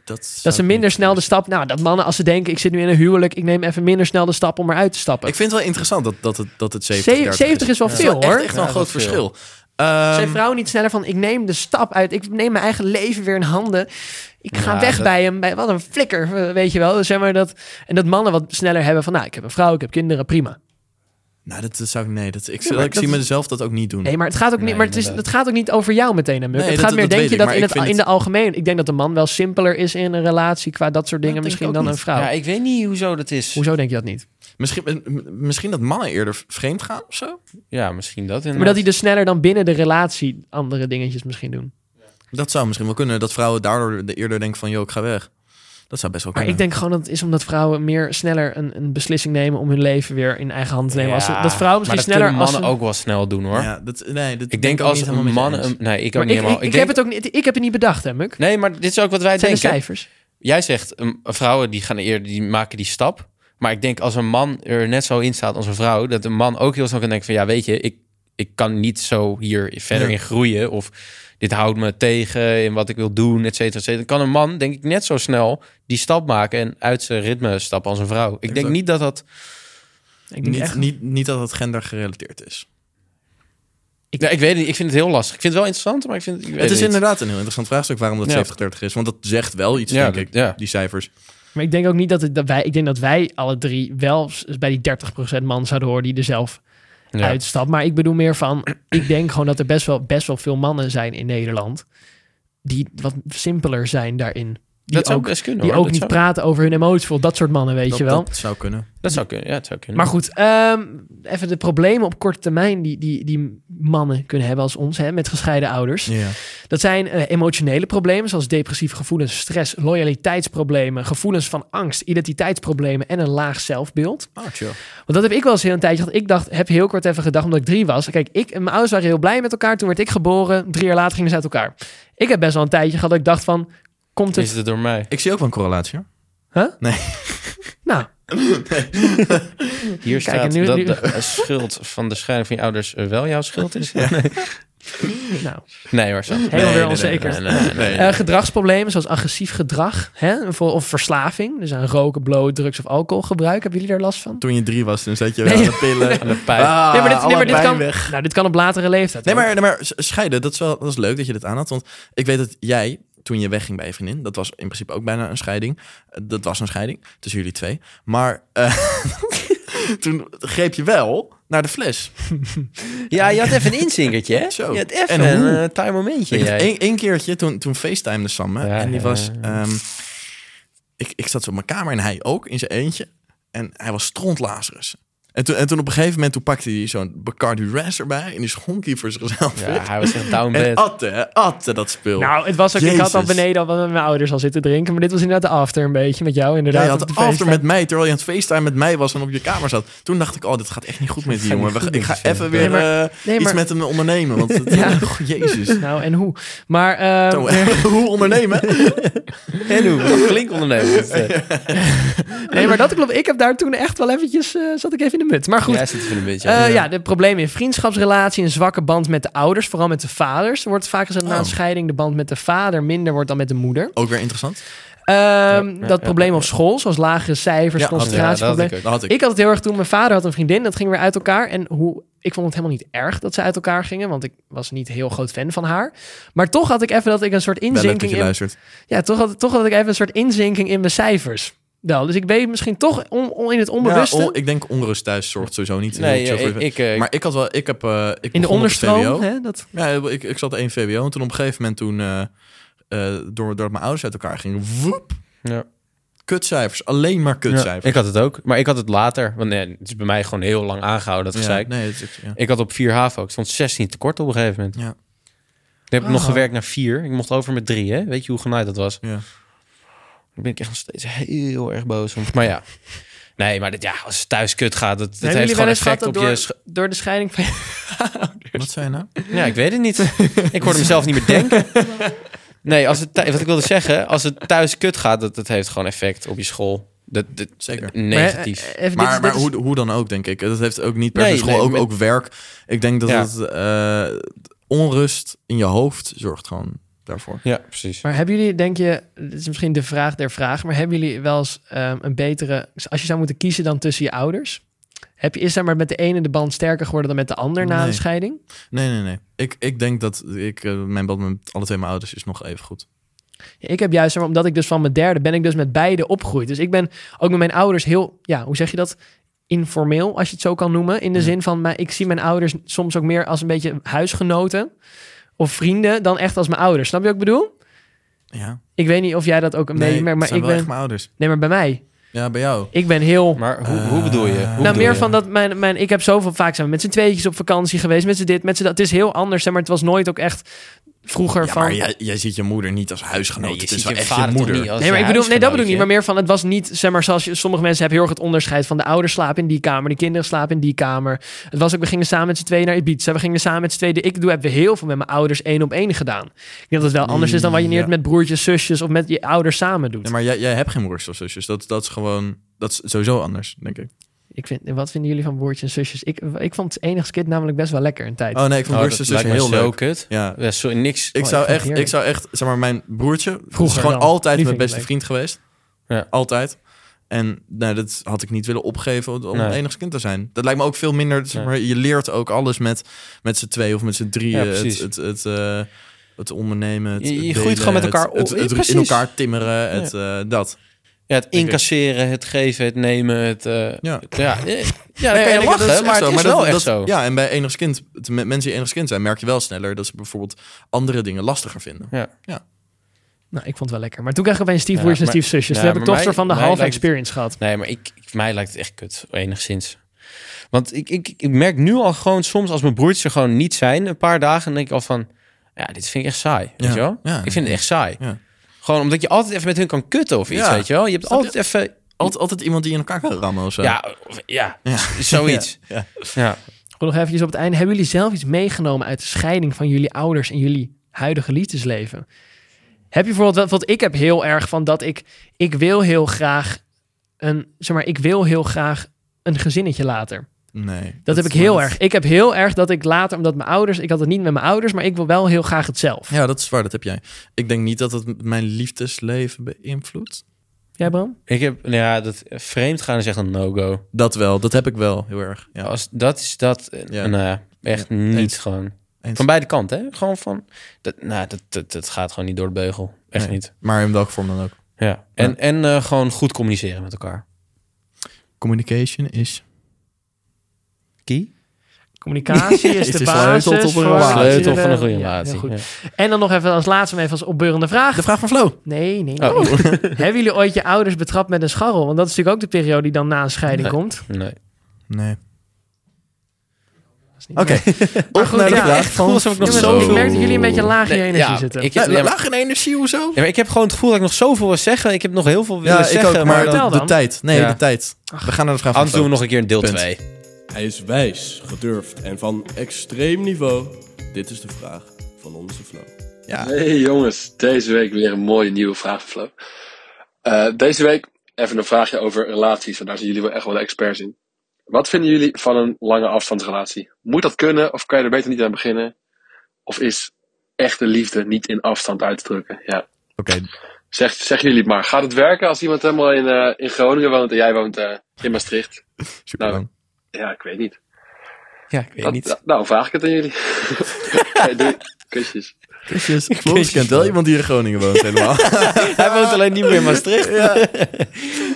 Speaker 2: Dat,
Speaker 3: Dat ze minder snel de stap... Nou, dat mannen als ze denken, ik zit nu in een huwelijk... ik neem even minder snel de stap om eruit te stappen.
Speaker 2: Ik vind het wel interessant dat, dat, het, dat het 70,
Speaker 3: 70,
Speaker 2: 30 is.
Speaker 3: is wel
Speaker 2: Dat is
Speaker 3: veel,
Speaker 2: wel
Speaker 3: hoor.
Speaker 2: Echt, echt wel een
Speaker 1: Ja,
Speaker 2: groot
Speaker 1: dat is
Speaker 2: verschil. Ehm,
Speaker 3: Zijn vrouwen niet sneller van, ik neem de stap uit, ik neem mijn eigen leven weer in handen. Ik ga
Speaker 1: Ja,
Speaker 3: weg
Speaker 1: dat-
Speaker 3: bij hem, bij, wat een flikker, eh, weet je wel. Dus Zeg maar dat, en dat mannen wat sneller hebben van, nou, ik heb een vrouw, ik heb kinderen, prima.
Speaker 2: nou, dat, dat zou ik... Nee, dat, ik,
Speaker 3: maar
Speaker 2: ik
Speaker 3: dat
Speaker 2: zie
Speaker 3: is-
Speaker 2: mezelf dat ook niet doen.
Speaker 3: Nee, maar het gaat ook niet,
Speaker 1: Nee,
Speaker 3: maar het is, het
Speaker 1: inderdaad.
Speaker 3: gaat ook niet over jou meteen, Amuk.
Speaker 2: Nee,
Speaker 3: het
Speaker 2: dat-
Speaker 3: gaat meer,
Speaker 2: dat
Speaker 3: denk
Speaker 2: weet
Speaker 3: je,
Speaker 2: ik,
Speaker 3: dat
Speaker 2: maar
Speaker 3: in,
Speaker 2: ik
Speaker 3: het,
Speaker 2: vind
Speaker 3: in de
Speaker 2: het-
Speaker 3: algemeen, ik denk dat de man wel simpeler is in een relatie qua dat soort dingen
Speaker 2: denk ik
Speaker 3: misschien
Speaker 2: ook
Speaker 3: dan
Speaker 2: niet.
Speaker 3: een vrouw.
Speaker 1: Ja, ik weet niet hoezo dat is.
Speaker 3: Hoezo denk je dat niet?
Speaker 2: Misschien, eh, m- misschien dat mannen eerder vreemd gaan of zo?
Speaker 1: Ja, misschien dat inderdaad.
Speaker 3: Maar dat die dus sneller dan binnen de relatie andere dingetjes misschien doen.
Speaker 2: Dat zou misschien wel kunnen. Dat vrouwen daardoor de eerder denken van... joh, ik ga weg. Dat zou best wel
Speaker 3: Maar
Speaker 2: kunnen.
Speaker 3: ik denk gewoon dat het is omdat vrouwen meer sneller een, een beslissing nemen om hun leven weer in eigen hand te nemen. Als ze-
Speaker 1: Ja,
Speaker 3: dat vrouwen misschien
Speaker 1: maar dat
Speaker 3: sneller
Speaker 1: kunnen
Speaker 3: als
Speaker 1: mannen
Speaker 3: ze-
Speaker 1: ook wel snel doen hoor.
Speaker 2: Ja, dat, nee, dat
Speaker 1: Ik denk
Speaker 2: ben
Speaker 1: als
Speaker 2: niet helemaal
Speaker 1: een
Speaker 2: met je
Speaker 1: man...
Speaker 2: eens.
Speaker 1: Een, nee, ik ook
Speaker 3: Maar
Speaker 1: niet
Speaker 3: ik, ik,
Speaker 1: helemaal.
Speaker 3: ik
Speaker 1: denk,
Speaker 3: heb het ook niet, ik heb het niet bedacht, hè, Muk?
Speaker 1: Nee, maar dit is ook wat wij
Speaker 3: Het zijn de
Speaker 1: denken.
Speaker 3: cijfers.
Speaker 1: Jij zegt, um, vrouwen die, gaan eerder, die maken die stap. Maar ik denk als een man er net zo in staat als een vrouw... dat een man ook heel snel kan denken van... ja, weet je, ik, ik kan niet zo hier verder
Speaker 2: Ja.
Speaker 1: in groeien... of dit houdt me tegen in wat ik wil doen, et cetera, et cetera. Kan een man, denk ik, net zo snel die stap maken... en uit zijn ritme stappen als een vrouw. Ik denk
Speaker 2: Exact.
Speaker 1: niet dat dat...
Speaker 3: Ik denk
Speaker 2: Niet,
Speaker 3: echt.
Speaker 2: niet, niet dat het gender gerelateerd is.
Speaker 1: Ik, Nou, ik weet het niet, ik vind het heel lastig. Ik vind het wel interessant, maar ik vind ik weet
Speaker 2: Het is
Speaker 1: niet.
Speaker 2: inderdaad een heel interessant vraagstuk waarom
Speaker 1: Ja.
Speaker 2: dat 70-30 is. Want dat zegt wel iets,
Speaker 1: Ja,
Speaker 2: denk
Speaker 1: dat-
Speaker 2: ik,
Speaker 1: ja.
Speaker 2: die cijfers.
Speaker 3: Maar ik denk ook niet dat, het, dat wij, ik denk dat wij alle drie wel s- bij die 30% man zouden horen die er zelf
Speaker 1: Ja.
Speaker 3: uitstapt. Maar ik bedoel meer van, ik denk gewoon dat er best wel, best wel veel mannen zijn in Nederland die wat simpeler zijn daarin. Die
Speaker 1: Dat zou
Speaker 3: ook,
Speaker 1: best kunnen,
Speaker 3: die
Speaker 1: hoor.
Speaker 3: ook
Speaker 1: Dat
Speaker 3: niet
Speaker 1: zou-
Speaker 3: praten over hun emoties. bijvoorbeeld Dat soort mannen, weet
Speaker 2: dat,
Speaker 3: je wel.
Speaker 2: dat zou kunnen.
Speaker 1: Dat zou kunnen, ja, het zou kunnen.
Speaker 3: Maar goed, ehm, even de problemen op korte termijn die, die, die mannen kunnen hebben als ons, hè, met gescheiden ouders.
Speaker 2: Ja.
Speaker 3: Dat zijn eh, emotionele problemen, zoals depressieve gevoelens, stress, loyaliteitsproblemen, gevoelens van angst, identiteitsproblemen en een laag zelfbeeld.
Speaker 2: Oh, chill.
Speaker 3: Want dat heb ik wel eens heel een tijdje gehad. Ik dacht, heb heel kort even gedacht, omdat ik drie was. Kijk, ik en mijn ouders waren heel blij met elkaar. Toen werd ik geboren. Drie jaar later gingen ze uit elkaar. Ik heb best wel een tijdje gehad dat ik dacht van, komt het...
Speaker 1: Is het door mij?
Speaker 2: Ik zie ook wel een correlatie. hoor.
Speaker 3: Nou,
Speaker 1: Hier
Speaker 3: Kijk,
Speaker 1: staat
Speaker 3: en nu-
Speaker 1: dat
Speaker 3: nu-
Speaker 1: de eh, schuld van de scheiding van je ouders eh, wel jouw schuld is.
Speaker 3: nou
Speaker 1: Nee hoor, Sam.
Speaker 3: helemaal
Speaker 2: nee,
Speaker 3: weer
Speaker 2: nee,
Speaker 3: onzeker.
Speaker 1: Nee, nee, nee, nee.
Speaker 3: Eh, gedragsproblemen zoals agressief gedrag hè, voor- of verslaving. Dus aan roken, bloot, drugs of alcoholgebruik. Hebben jullie daar last van?
Speaker 2: Toen je drie was, toen zat je
Speaker 3: Nee.
Speaker 2: wel aan de pillen.
Speaker 1: Aan de pijp.
Speaker 2: Ah,
Speaker 3: nee, maar dit, nee,
Speaker 2: alle
Speaker 3: maar dit
Speaker 2: pijn
Speaker 3: kan,
Speaker 2: weg.
Speaker 3: nou, dit kan op latere leeftijd.
Speaker 2: Nee,
Speaker 3: hoor.
Speaker 2: maar, nee, maar s- scheiden, dat is, wel, dat is leuk dat je dit aanhaalt. Want ik weet dat jij, toen je wegging bij je vriendin... dat was in principe ook bijna een scheiding. Eh, Dat was een scheiding tussen jullie twee. Maar eh, toen greep je wel naar de fles.
Speaker 1: Ja, je had even een inzinkertje, hè?
Speaker 2: Zo.
Speaker 1: Je had even
Speaker 2: En hoe?
Speaker 1: een eh time momentje.
Speaker 2: Ik had
Speaker 1: jij.
Speaker 2: één, één keertje, toen, toen facetimede Sam me,
Speaker 1: Ja,
Speaker 2: en die
Speaker 1: ja,
Speaker 2: was...
Speaker 1: ja.
Speaker 2: ehm, ik, ik zat zo op mijn kamer en hij ook, in zijn eentje. En hij was strontlazerus. En toen, en toen op een gegeven moment toen pakte hij zo'n Bacardi Ras erbij... en die schonk hij voor zichzelf
Speaker 1: Ja,
Speaker 2: op.
Speaker 1: hij was echt down
Speaker 2: En
Speaker 1: bad.
Speaker 2: atte, hè, atte dat spul.
Speaker 3: Nou, het was ook, ik had al
Speaker 2: Jezus.
Speaker 3: beneden al met mijn ouders al zitten drinken. Maar dit was inderdaad de after een beetje met jou
Speaker 2: Ja,
Speaker 3: inderdaad.
Speaker 2: je had
Speaker 3: op de
Speaker 2: het after
Speaker 3: feestdag.
Speaker 2: met mij, terwijl je aan het facetime met mij was en op je kamer zat. Toen dacht ik, oh, dit gaat echt niet goed met die
Speaker 1: gaat
Speaker 2: jongen.
Speaker 1: niet goed
Speaker 2: We- Ik
Speaker 1: met
Speaker 2: ga
Speaker 1: die
Speaker 2: even
Speaker 1: vent.
Speaker 2: weer
Speaker 3: Nee,
Speaker 2: eh,
Speaker 3: nee,
Speaker 2: iets
Speaker 3: maar-
Speaker 2: met hem ondernemen. Want het,
Speaker 3: Ja.
Speaker 2: oh, jezus.
Speaker 3: Nou, en hoe? Maar eh,
Speaker 2: Zo, hoe ondernemen?
Speaker 1: En hoe? Flink ondernemend. Ja,
Speaker 3: nee, maar dat klopt. Ik heb daar toen echt wel eventjes, eh, zat ik even in de mut. Maar goed,
Speaker 1: Jij zit even een beetje.
Speaker 3: Eh, ja, de problemen in vriendschapsrelatie, een zwakke band met de ouders, vooral met de vaders. Er wordt vaak gezegd na een
Speaker 2: Oh.
Speaker 3: scheiding de band met de vader minder wordt dan met de moeder.
Speaker 2: Ook weer interessant.
Speaker 3: Ehm,
Speaker 1: ja,
Speaker 3: dat
Speaker 1: ja,
Speaker 3: probleem
Speaker 1: ja.
Speaker 3: op school, zoals lagere cijfers,
Speaker 2: Ja,
Speaker 3: concentratieprobleem.
Speaker 1: Ja, dat had
Speaker 2: Dat had
Speaker 3: ik.
Speaker 2: ik.
Speaker 3: had het heel erg toen mijn vader had een vriendin, dat ging weer uit elkaar. En hoe, ik vond het helemaal niet erg dat ze uit elkaar gingen, want ik was niet heel groot fan van haar. Maar toch had ik even dat ik een soort
Speaker 2: Wel leuk dat
Speaker 3: inzinking
Speaker 2: je
Speaker 3: in,
Speaker 2: luistert.
Speaker 3: ja, toch had, toch had ik even een soort inzinking in mijn cijfers. Wel, dus ik weet misschien toch on, on- in het onbewuste,
Speaker 2: Ja, on- ik denk onrust thuis zorgt sowieso niet.
Speaker 1: Nee,
Speaker 2: heel
Speaker 1: eh,
Speaker 2: chill voor-
Speaker 1: ik, eh,
Speaker 2: maar ik had wel, ik heb... eh, ik
Speaker 3: in de
Speaker 2: begon op het
Speaker 3: onderstroom,
Speaker 2: VWO.
Speaker 3: hè, dat,
Speaker 2: Ja, ik, ik zat één VWO en toen op een gegeven moment toen... eh eh door, door mijn ouders uit elkaar gingen, woep,
Speaker 1: Ja.
Speaker 2: kutcijfers. Alleen maar
Speaker 1: Ja,
Speaker 2: kutcijfers.
Speaker 1: ik had het ook. Maar ik had het later. Want nee, het is bij mij gewoon heel lang aangehouden, dat
Speaker 2: Ja,
Speaker 1: gezeik.
Speaker 2: nee, het, is- ja.
Speaker 1: Ik had op 4 HAVO. Ik stond 16 tekort op een gegeven moment.
Speaker 2: Ja.
Speaker 1: Ik heb
Speaker 2: Ah.
Speaker 3: Oh.
Speaker 1: nog gewerkt naar 4. Ik mocht over met 3, hè? Weet je hoe genaaid dat was?
Speaker 2: Ja.
Speaker 1: Daar ben ik echt nog steeds heel erg boos om. Maar ja, Nee, maar dit, ja, als het thuis kut gaat, dat, dat
Speaker 3: Hebben
Speaker 1: heeft
Speaker 3: jullie wel
Speaker 1: gewoon effect
Speaker 3: eens gehad
Speaker 1: op
Speaker 3: dat door,
Speaker 1: je... sch-
Speaker 3: door de scheiding van
Speaker 2: Wat zei je nou?
Speaker 1: Ja, ik weet het niet. ik hoorde mezelf niet meer denken. Nee, als het, thu- wat ik wilde zeggen, als het thuis kut gaat, dat, dat heeft gewoon effect op je school. Dat, dat,
Speaker 2: Zeker.
Speaker 1: Negatief.
Speaker 3: Maar, eh, even, dit is-
Speaker 2: Maar,
Speaker 3: dit
Speaker 2: maar
Speaker 3: is-
Speaker 2: hoe, hoe dan ook, denk ik. Dat heeft ook niet per se
Speaker 1: Nee,
Speaker 2: school,
Speaker 1: nee,
Speaker 2: ook,
Speaker 1: met-
Speaker 2: ook werk. Ik denk dat
Speaker 1: Ja.
Speaker 2: het, eh, onrust in je hoofd zorgt gewoon daarvoor.
Speaker 1: ja, precies.
Speaker 3: Maar hebben jullie, denk je, dit is misschien de vraag der vraag, maar hebben jullie wel eens ehm, een betere, als je zou moeten kiezen dan tussen je ouders? Heb je, is daar maar met de ene de band sterker geworden dan met de ander na
Speaker 2: Nee.
Speaker 3: de scheiding?
Speaker 2: Nee, nee, nee. Ik, ik denk dat ik, eh, mijn band met alle twee mijn ouders is nog even goed.
Speaker 3: Ja, Ik heb juist, zeg maar, omdat ik dus van mijn derde ben ik dus met beide opgegroeid. Dus ik ben ook met mijn ouders heel, ja, hoe zeg je dat? Informeel, als je het zo kan noemen. In de
Speaker 2: Ja.
Speaker 3: zin van, maar ik zie mijn ouders soms ook meer als een beetje huisgenoten of vrienden dan echt als mijn ouders. Snap je wat ik bedoel?
Speaker 2: Ja.
Speaker 3: Ik weet niet of jij dat ook een beetje
Speaker 2: nee,
Speaker 3: merkt,
Speaker 2: het
Speaker 3: maar
Speaker 2: zijn
Speaker 3: ik
Speaker 2: wel
Speaker 3: ben,
Speaker 2: echt mijn ouders.
Speaker 3: nee, maar bij mij.
Speaker 2: Ja, bij jou.
Speaker 3: Ik ben heel
Speaker 1: Maar hoe, hoe bedoel je? Hoe bedoel
Speaker 3: Nou, meer
Speaker 1: je?
Speaker 3: van dat mijn, mijn, ik heb zoveel vaak zijn we met z'n tweetjes op vakantie geweest, met z'n dit, met z'n dat. Het is heel anders, hè, maar het was nooit ook echt vroeger
Speaker 2: Ja,
Speaker 3: van.
Speaker 2: maar jij, jij ziet je moeder niet als huisgenoot.
Speaker 1: Nee, je
Speaker 2: het
Speaker 1: ziet
Speaker 2: is
Speaker 1: je
Speaker 2: wel echt
Speaker 1: vader
Speaker 2: je
Speaker 1: toch
Speaker 2: moeder.
Speaker 1: niet als
Speaker 3: Nee, maar
Speaker 1: je
Speaker 3: ik bedoel, nee, dat bedoel ik niet. Maar
Speaker 1: huisgenootje?
Speaker 3: meer van, het was niet, zeg maar, zoals je, sommige mensen hebben heel erg het onderscheid van de ouders slapen in die kamer, de kinderen slapen in die kamer. Het was ook, we gingen samen met z'n tweeën naar Ibiza, we gingen samen met z'n tweeën, ik doe, hebben we heel veel met mijn ouders één op één gedaan. Ik denk dat het wel anders is dan wat je neert
Speaker 2: Mm, Ja.
Speaker 3: met broertjes, zusjes of met je ouders samen doet.
Speaker 2: Nee, maar jij, jij hebt geen broers of zusjes. Dat, dat is gewoon... Dat is sowieso anders, denk ik.
Speaker 3: ik vind, wat vinden jullie van broertjes en zusjes? Ik, ik vond het enigste kind namelijk best wel lekker een tijd.
Speaker 2: Oh nee, ik vond
Speaker 1: Oh,
Speaker 2: broers en
Speaker 1: dat lijkt
Speaker 2: zussen
Speaker 1: me
Speaker 2: heel
Speaker 1: zo
Speaker 2: leuk.
Speaker 1: kut.
Speaker 2: Ja.
Speaker 1: Ja, sorry, niks.
Speaker 2: Ik
Speaker 3: Oh,
Speaker 2: zou
Speaker 3: ik vind het
Speaker 2: echt, ik
Speaker 3: heerlijk.
Speaker 2: zou echt, zeg maar, mijn broertje
Speaker 3: Vroeger
Speaker 2: is gewoon
Speaker 3: dan.
Speaker 2: altijd
Speaker 3: Nu
Speaker 2: mijn
Speaker 3: vind ik
Speaker 2: beste
Speaker 3: het leuk.
Speaker 2: vriend geweest.
Speaker 1: Ja.
Speaker 2: Altijd. En nou, dat had ik niet willen opgeven om om
Speaker 1: Nee.
Speaker 2: het enigste kind te zijn. Dat lijkt me ook veel minder. Zeg
Speaker 1: Nee.
Speaker 2: maar, je leert ook alles met, met z'n twee of met z'n drieën. het,
Speaker 1: precies.
Speaker 2: het, het, eh, het ondernemen. Het,
Speaker 1: Je- je
Speaker 2: het
Speaker 1: groeit gewoon met
Speaker 2: het-
Speaker 1: elkaar op.
Speaker 2: Het,
Speaker 1: Ja,
Speaker 2: het
Speaker 1: precies.
Speaker 2: in elkaar timmeren. Het, eh, dat.
Speaker 1: Ja, het incasseren, het geven, het nemen, het... eh,
Speaker 2: Ja.
Speaker 1: Ja, eh, ja, dan
Speaker 2: Nee,
Speaker 1: kan je
Speaker 2: en ik- dat is echt
Speaker 1: lachen, maar het
Speaker 2: zo,
Speaker 1: is
Speaker 2: dat-
Speaker 1: wel echt
Speaker 2: dat-
Speaker 1: zo.
Speaker 2: Ja, en bij enigszins kind, het- met mensen die enigszins kind zijn, merk je wel sneller dat ze bijvoorbeeld andere dingen lastiger vinden.
Speaker 3: Nou, ik vond het wel lekker. Maar toen kreeg ik opeens stiefbroers
Speaker 1: Ja,
Speaker 3: en
Speaker 1: maar-
Speaker 3: stiefzusjes.
Speaker 1: ja,
Speaker 3: toen heb
Speaker 1: maar
Speaker 3: ik toch soort
Speaker 1: mij-
Speaker 3: van de
Speaker 1: mij
Speaker 3: halve
Speaker 1: lijkt het-
Speaker 3: experience gehad.
Speaker 1: Nee, maar ik, ik- mij lijkt het echt kut, enigszins. Want ik, ik, ik merk nu al gewoon soms als mijn broertjes er gewoon niet zijn, een paar dagen, dan denk ik al van, ja, dit vind ik echt saai, weet
Speaker 2: Ja,
Speaker 1: je wel?
Speaker 2: ja.
Speaker 1: ik vind het echt saai.
Speaker 2: Ja.
Speaker 1: Gewoon omdat je altijd even met hun kan kutten of iets,
Speaker 2: Ja.
Speaker 1: weet je wel? Je hebt
Speaker 2: Snap je?
Speaker 1: altijd even,
Speaker 2: Altijd, altijd iemand die in elkaar kan rammen of zo.
Speaker 1: ja, of- ja,
Speaker 2: Ja.
Speaker 1: z- zoiets.
Speaker 2: Ja.
Speaker 1: ja.
Speaker 3: Goed, nog eventjes op het einde. Hebben jullie zelf iets meegenomen uit de scheiding van jullie ouders en jullie huidige liefdesleven? Heb je bijvoorbeeld, wat- wat ik heb heel erg van dat ik, ik wil heel graag een, zeg maar, ik wil heel graag een gezinnetje later.
Speaker 2: Nee.
Speaker 3: Dat, heb ik
Speaker 2: is
Speaker 3: heel
Speaker 2: maar-
Speaker 3: erg. Ik heb heel erg dat ik later, omdat mijn ouders, ik had het niet met mijn ouders, maar ik wil wel heel graag het zelf.
Speaker 2: Ja, dat is waar, dat heb jij. Ik denk niet dat het mijn liefdesleven beïnvloedt.
Speaker 3: Jij, Bram?
Speaker 1: Ik heb, nou ja, dat vreemd gaan is echt een no-go.
Speaker 2: Dat wel, dat heb ik wel heel erg. Ja.
Speaker 1: Als dat is dat, eh,
Speaker 2: Ja.
Speaker 1: nou ja, echt niet
Speaker 2: Eens.
Speaker 1: gewoon.
Speaker 2: Eens.
Speaker 1: Van beide kanten, hè? Gewoon van, dat, nou, dat, dat, dat gaat gewoon niet door de beugel. Echt
Speaker 2: Nee.
Speaker 1: niet.
Speaker 2: Maar in welke vorm dan ook.
Speaker 1: Ja. En, en eh, gewoon goed communiceren met elkaar.
Speaker 2: Communication is.
Speaker 1: Key?
Speaker 3: Communicatie is
Speaker 2: Is
Speaker 3: de
Speaker 2: de
Speaker 3: basis.
Speaker 2: sleutel tot een
Speaker 3: voor-
Speaker 2: relatie.
Speaker 1: Sleutel van een goede
Speaker 3: eh, Ja,
Speaker 1: relatie.
Speaker 3: heel goed.
Speaker 1: Ja.
Speaker 3: En dan nog even als laatste, maar even als opbeurende vraag.
Speaker 2: De vraag van Flo.
Speaker 3: Nee, nee. nee.
Speaker 1: Oh.
Speaker 3: Hebben jullie ooit je ouders betrapt met een scharrel? Want dat is natuurlijk ook de periode die dan na een scheiding
Speaker 1: Nee.
Speaker 3: komt.
Speaker 1: Nee.
Speaker 2: Nee.
Speaker 3: Dat is niet
Speaker 2: Oké.
Speaker 3: waar. Maar goed,
Speaker 2: naar de
Speaker 3: ja,
Speaker 2: vraag.
Speaker 3: echt
Speaker 1: Voel alsof ik nog
Speaker 3: Jongens,
Speaker 2: zo-
Speaker 3: Ik merk dat jullie een beetje laag in je
Speaker 1: Nee,
Speaker 3: energie
Speaker 1: ja,
Speaker 3: zitten.
Speaker 1: Ik heb, ja, maar,
Speaker 2: in energie, hoezo?
Speaker 1: ja, maar ik heb gewoon het gevoel dat ik nog zoveel wil zeggen. Ik heb nog heel veel willen
Speaker 2: Ja, ik
Speaker 1: zeggen.
Speaker 2: ook, maar
Speaker 1: maar
Speaker 3: dat-
Speaker 1: dan-
Speaker 3: Vertel
Speaker 2: de, de
Speaker 3: dan.
Speaker 2: tijd. Nee,
Speaker 1: Ja.
Speaker 2: de tijd. We gaan naar de vraag van
Speaker 1: anders doen we
Speaker 2: Flo.
Speaker 1: nog een keer een deel
Speaker 2: Punt.
Speaker 1: 2.
Speaker 4: Hij is wijs, gedurfd en van extreem niveau. Dit is de vraag van onze Flo.
Speaker 2: Ja.
Speaker 5: Hey jongens, deze week weer een mooie nieuwe vraagflow. Eh deze week even een vraagje over relaties, want daar zijn jullie wel echt wel de experts in. Wat vinden jullie van een lange afstandsrelatie? Moet dat kunnen of kan je er beter niet aan beginnen? Of is echte liefde niet in afstand uit te drukken? Ja.
Speaker 2: Oké,
Speaker 5: Zeg, zeggen jullie het maar, gaat het werken als iemand helemaal in, eh, in Groningen woont en jij woont eh, in Maastricht?
Speaker 2: super
Speaker 5: Nou, Ja, ik weet niet.
Speaker 1: Ja, ik weet
Speaker 5: Dat-
Speaker 1: niet.
Speaker 5: nou, nou, vraag ik het aan jullie. hey, doei. Kusjes.
Speaker 2: Kusjes. Floris kent wel iemand die in Groningen woont helemaal.
Speaker 1: Hij woont alleen niet meer in Maastricht.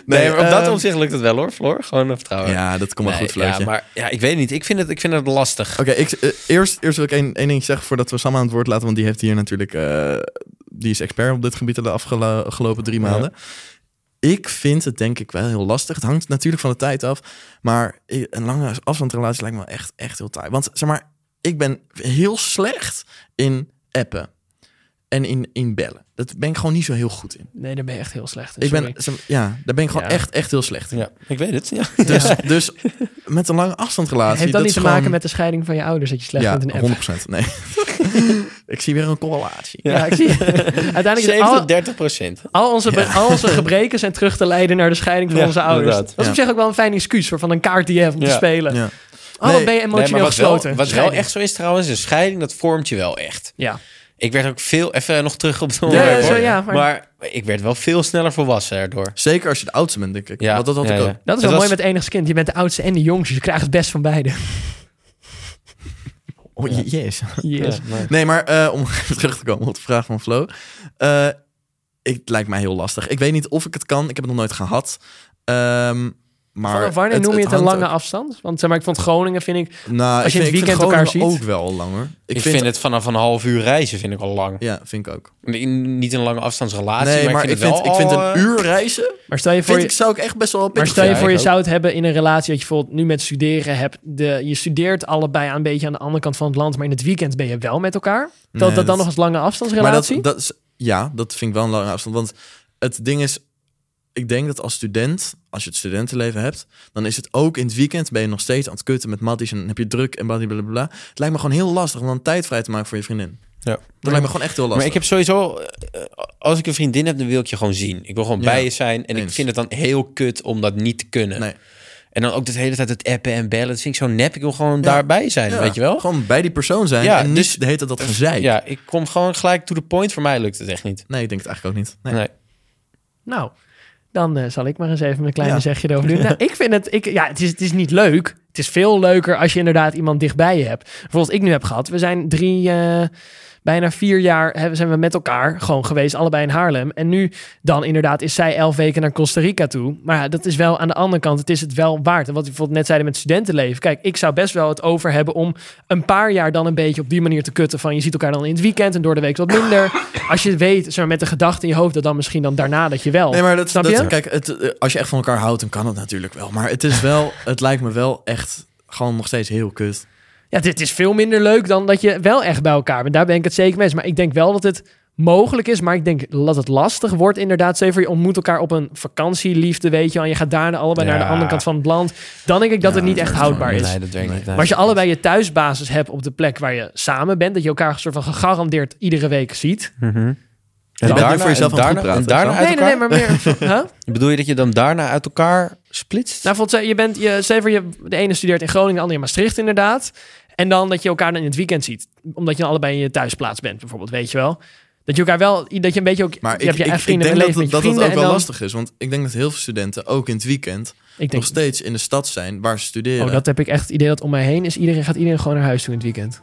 Speaker 1: Nee, maar op dat
Speaker 2: ehm,
Speaker 1: opzicht lukt het wel hoor, Floor. Gewoon een vertrouwen.
Speaker 2: Ja, dat komt wel
Speaker 1: Nee,
Speaker 2: goed, Flootje.
Speaker 1: Ja, maar ja, ik weet niet. Ik vind het, ik vind het lastig.
Speaker 2: Oké, ik- eh, eerst, eerst wil ik één, één ding zeggen voordat we Sam aan het woord laten. Want die heeft hier natuurlijk... eh, die is expert op dit gebied de afgelo- afgelopen drie
Speaker 1: Ja.
Speaker 2: maanden. Ik vind het denk ik wel heel lastig. Het hangt natuurlijk van de tijd af. Maar i- een lange afstandsrelatie lijkt me wel echt, echt heel taai. Want zeg maar, ik ben heel slecht in appen. en in, in bellen. Dat ben ik gewoon niet zo heel goed in.
Speaker 3: Nee, daar ben je echt heel slecht in.
Speaker 2: Ik ben, Ah,
Speaker 3: sorry.
Speaker 2: ze- ja, daar ben ik gewoon
Speaker 1: Ja.
Speaker 2: echt, echt heel slecht in.
Speaker 1: Ja, ik weet het. Ja.
Speaker 2: Dus, dus met een lange afstandrelatie...
Speaker 3: Heeft dat,
Speaker 2: dat
Speaker 3: niet
Speaker 2: is
Speaker 3: te maken
Speaker 2: gewoon-
Speaker 3: met de scheiding van je ouders dat je slecht
Speaker 2: ja,
Speaker 3: bent in app?
Speaker 2: 100%. Nee. ik zie weer een correlatie.
Speaker 3: Ja, ik zie. Uiteindelijk is al,
Speaker 1: 70, 30 procent.
Speaker 3: al, onze, be- al onze gebreken zijn terug te leiden naar de scheiding van
Speaker 1: Ja,
Speaker 3: onze ouders.
Speaker 1: inderdaad.
Speaker 3: Dat is op zich ook wel een fijn excuus voor van een kaart die je hebt om te
Speaker 1: Ja.
Speaker 3: spelen.
Speaker 2: Ja.
Speaker 3: Oh,
Speaker 2: Nee,
Speaker 3: wat ben je emotioneel
Speaker 1: wat wel,
Speaker 3: gesloten.
Speaker 1: wat wel
Speaker 3: Scheiding.
Speaker 1: echt zo is trouwens, een scheiding, dat vormt je wel echt.
Speaker 3: Ja.
Speaker 1: Ik werd ook veel, even nog terug op het
Speaker 3: Ja,
Speaker 1: onderwerp
Speaker 3: ja, zo,
Speaker 1: hoor.
Speaker 3: ja, maar,
Speaker 1: maar... ik werd wel veel sneller volwassen erdoor.
Speaker 2: Zeker als je de oudste bent, denk ik.
Speaker 1: Ja,
Speaker 2: Want dat had
Speaker 1: ja,
Speaker 2: ik ook.
Speaker 1: ja.
Speaker 3: dat is
Speaker 1: Het
Speaker 3: wel
Speaker 1: was-
Speaker 3: mooi met enigskind. Je bent de oudste en de jongste. Dus je krijgt het best van beide.
Speaker 2: Oh, je- jezus.
Speaker 3: Yes.
Speaker 1: Ja, maar-
Speaker 2: Nee, maar eh, om even terug te komen op de vraag van Flo. Eh, ik, het lijkt mij heel lastig. Ik weet niet of ik het kan. Ik heb het nog nooit gehad. Ehm, maar
Speaker 3: Vanaf wanneer noem je het, een
Speaker 2: hangt
Speaker 3: lange afstand? Want zeg maar, ik vond Groningen, vind ik...
Speaker 2: ook- Nou,
Speaker 3: als je
Speaker 2: ik
Speaker 3: in
Speaker 2: vind-
Speaker 3: het
Speaker 2: ik vind
Speaker 3: weekend elkaar
Speaker 2: Groningen
Speaker 3: ziet?
Speaker 2: ook wel langer.
Speaker 1: Ik, vind, het vanaf een half uur reizen vind ik al lang.
Speaker 2: Ja, vind ik ook.
Speaker 1: N- Niet een lange afstandsrelatie,
Speaker 2: nee,
Speaker 1: maar, ik vind, het wel
Speaker 2: ik vind
Speaker 1: al,
Speaker 2: een
Speaker 1: eh,
Speaker 2: uur reizen...
Speaker 3: Maar stel je voor...
Speaker 2: Vind
Speaker 3: je-
Speaker 2: ik, zou ik echt best wel...
Speaker 3: Maar
Speaker 2: pittig
Speaker 3: stel je
Speaker 1: Ja,
Speaker 3: voor,
Speaker 1: ik
Speaker 3: je
Speaker 1: ook.
Speaker 3: zou het hebben in een relatie dat je bijvoorbeeld nu met studeren hebt. De, je studeert allebei een beetje aan de andere kant van het land, maar in het weekend ben je wel met elkaar. Telt
Speaker 2: Nee,
Speaker 3: dat dan
Speaker 2: dat-
Speaker 3: nog als lange
Speaker 2: Maar
Speaker 3: afstandsrelatie?
Speaker 2: dat, dat is, ja, dat vind ik wel een lange afstand. Want het ding is, ik denk dat als student, als je het studentenleven hebt, dan is het ook in het weekend ben je nog steeds aan het kutten met matties en dan heb je druk en blablabla. Het lijkt me gewoon heel lastig om dan tijd vrij te maken voor je vriendin.
Speaker 1: eh, Ja.
Speaker 2: Dat lijkt me gewoon echt heel
Speaker 1: Maar
Speaker 2: lastig.
Speaker 1: ik heb sowieso, eh, eh, als ik een vriendin heb, dan wil ik je gewoon zien. Ik wil gewoon
Speaker 2: Ja,
Speaker 1: bij je zijn. En
Speaker 2: eens.
Speaker 1: ik vind het dan heel kut om dat niet te kunnen.
Speaker 2: Nee.
Speaker 1: En dan ook de hele tijd het appen en bellen. Dat vind ik zo nep. Ik wil gewoon daarbij zijn,
Speaker 2: Ja,
Speaker 1: weet je wel?
Speaker 2: Gewoon bij die persoon zijn
Speaker 1: Ja,
Speaker 2: en niet
Speaker 1: dus-
Speaker 2: de hele tijd dat gezeik.
Speaker 1: Ja, ik kom gewoon gelijk to the point. Voor mij lukt het echt niet.
Speaker 2: Nee, ik denk het eigenlijk ook niet. Nee.
Speaker 1: Nee.
Speaker 3: Nou, dan eh, zal ik maar eens even mijn kleine
Speaker 2: Ja.
Speaker 3: zegje erover doen. Nou, ik vind het, ik, ja, het is, het is niet leuk. Het is veel leuker als je inderdaad iemand dichtbij je hebt. Bijvoorbeeld, ik nu heb gehad, we zijn drie, eh, bijna vier jaar hebben, zijn we met elkaar gewoon geweest, allebei in Haarlem. En nu dan inderdaad is zij elf weken naar Costa Rica toe. Maar ja, dat is wel aan de andere kant, het is het wel waard. En wat we bijvoorbeeld net zeiden met studentenleven. Kijk, ik zou best wel het over hebben om een paar jaar dan een beetje op die manier te kutten. Van je ziet elkaar dan in het weekend en door de week wat minder. Als je weet, zeg maar, met de gedachte in je hoofd, dat dan misschien dan daarna dat je wel.
Speaker 2: Nee, maar dat,
Speaker 3: Snap
Speaker 2: dat-
Speaker 3: je?
Speaker 2: Kijk, het, eh, als je echt van elkaar houdt, dan kan het natuurlijk wel. Maar het is wel, het lijkt me wel echt gewoon nog steeds heel kut.
Speaker 3: Ja, dit is veel minder leuk dan dat je wel echt bij elkaar bent. Daar ben ik het zeker mee eens. Maar ik denk wel dat het mogelijk is. Maar ik denk dat het lastig wordt inderdaad. Zeker je ontmoet elkaar op een vakantieliefde, weet je wel. En je gaat daarna allebei naar
Speaker 1: Ja.
Speaker 3: de andere kant van het land. Dan denk ik dat
Speaker 2: Ja,
Speaker 3: het niet echt houdbaar is.
Speaker 1: Nee, dat werkt niet.
Speaker 3: Maar als je allebei je thuisbasis hebt op de plek waar je samen bent... dat je elkaar soort van gegarandeerd iedere week ziet.
Speaker 2: Je bent nu voor jezelf
Speaker 1: en
Speaker 2: aan het
Speaker 1: daarna,
Speaker 2: goed praten.
Speaker 1: en daarna
Speaker 2: of zo?
Speaker 1: uit
Speaker 3: Nee, nee, nee,
Speaker 1: elkaar?
Speaker 3: maar meer... huh?
Speaker 1: Bedoel je dat je dan daarna uit elkaar splitst?
Speaker 3: Nou, bijvoorbeeld, je bent, je, stel je voor je, de ene studeert in Groningen, de andere in Maastricht inderdaad. En dan dat je elkaar dan in het weekend ziet. Omdat je dan allebei in je thuisplaats bent, bijvoorbeeld, weet je wel. Dat je elkaar wel, dat je een beetje ook,
Speaker 2: Maar
Speaker 3: je
Speaker 2: ik,
Speaker 3: hebt je
Speaker 2: ik,
Speaker 3: echt
Speaker 2: ik
Speaker 3: vrienden
Speaker 2: denk dat, het-
Speaker 3: beleefd met je
Speaker 2: dat het ook
Speaker 3: vrienden.
Speaker 2: wel
Speaker 3: en dan-
Speaker 2: lastig is. Want ik denk dat heel veel studenten, ook in het weekend,
Speaker 3: Ik
Speaker 2: nog
Speaker 3: denk,
Speaker 2: steeds in de stad zijn waar ze studeren.
Speaker 3: oh, dat heb ik echt het idee dat om mij heen is, iedereen gaat iedereen gewoon naar huis toe in het weekend.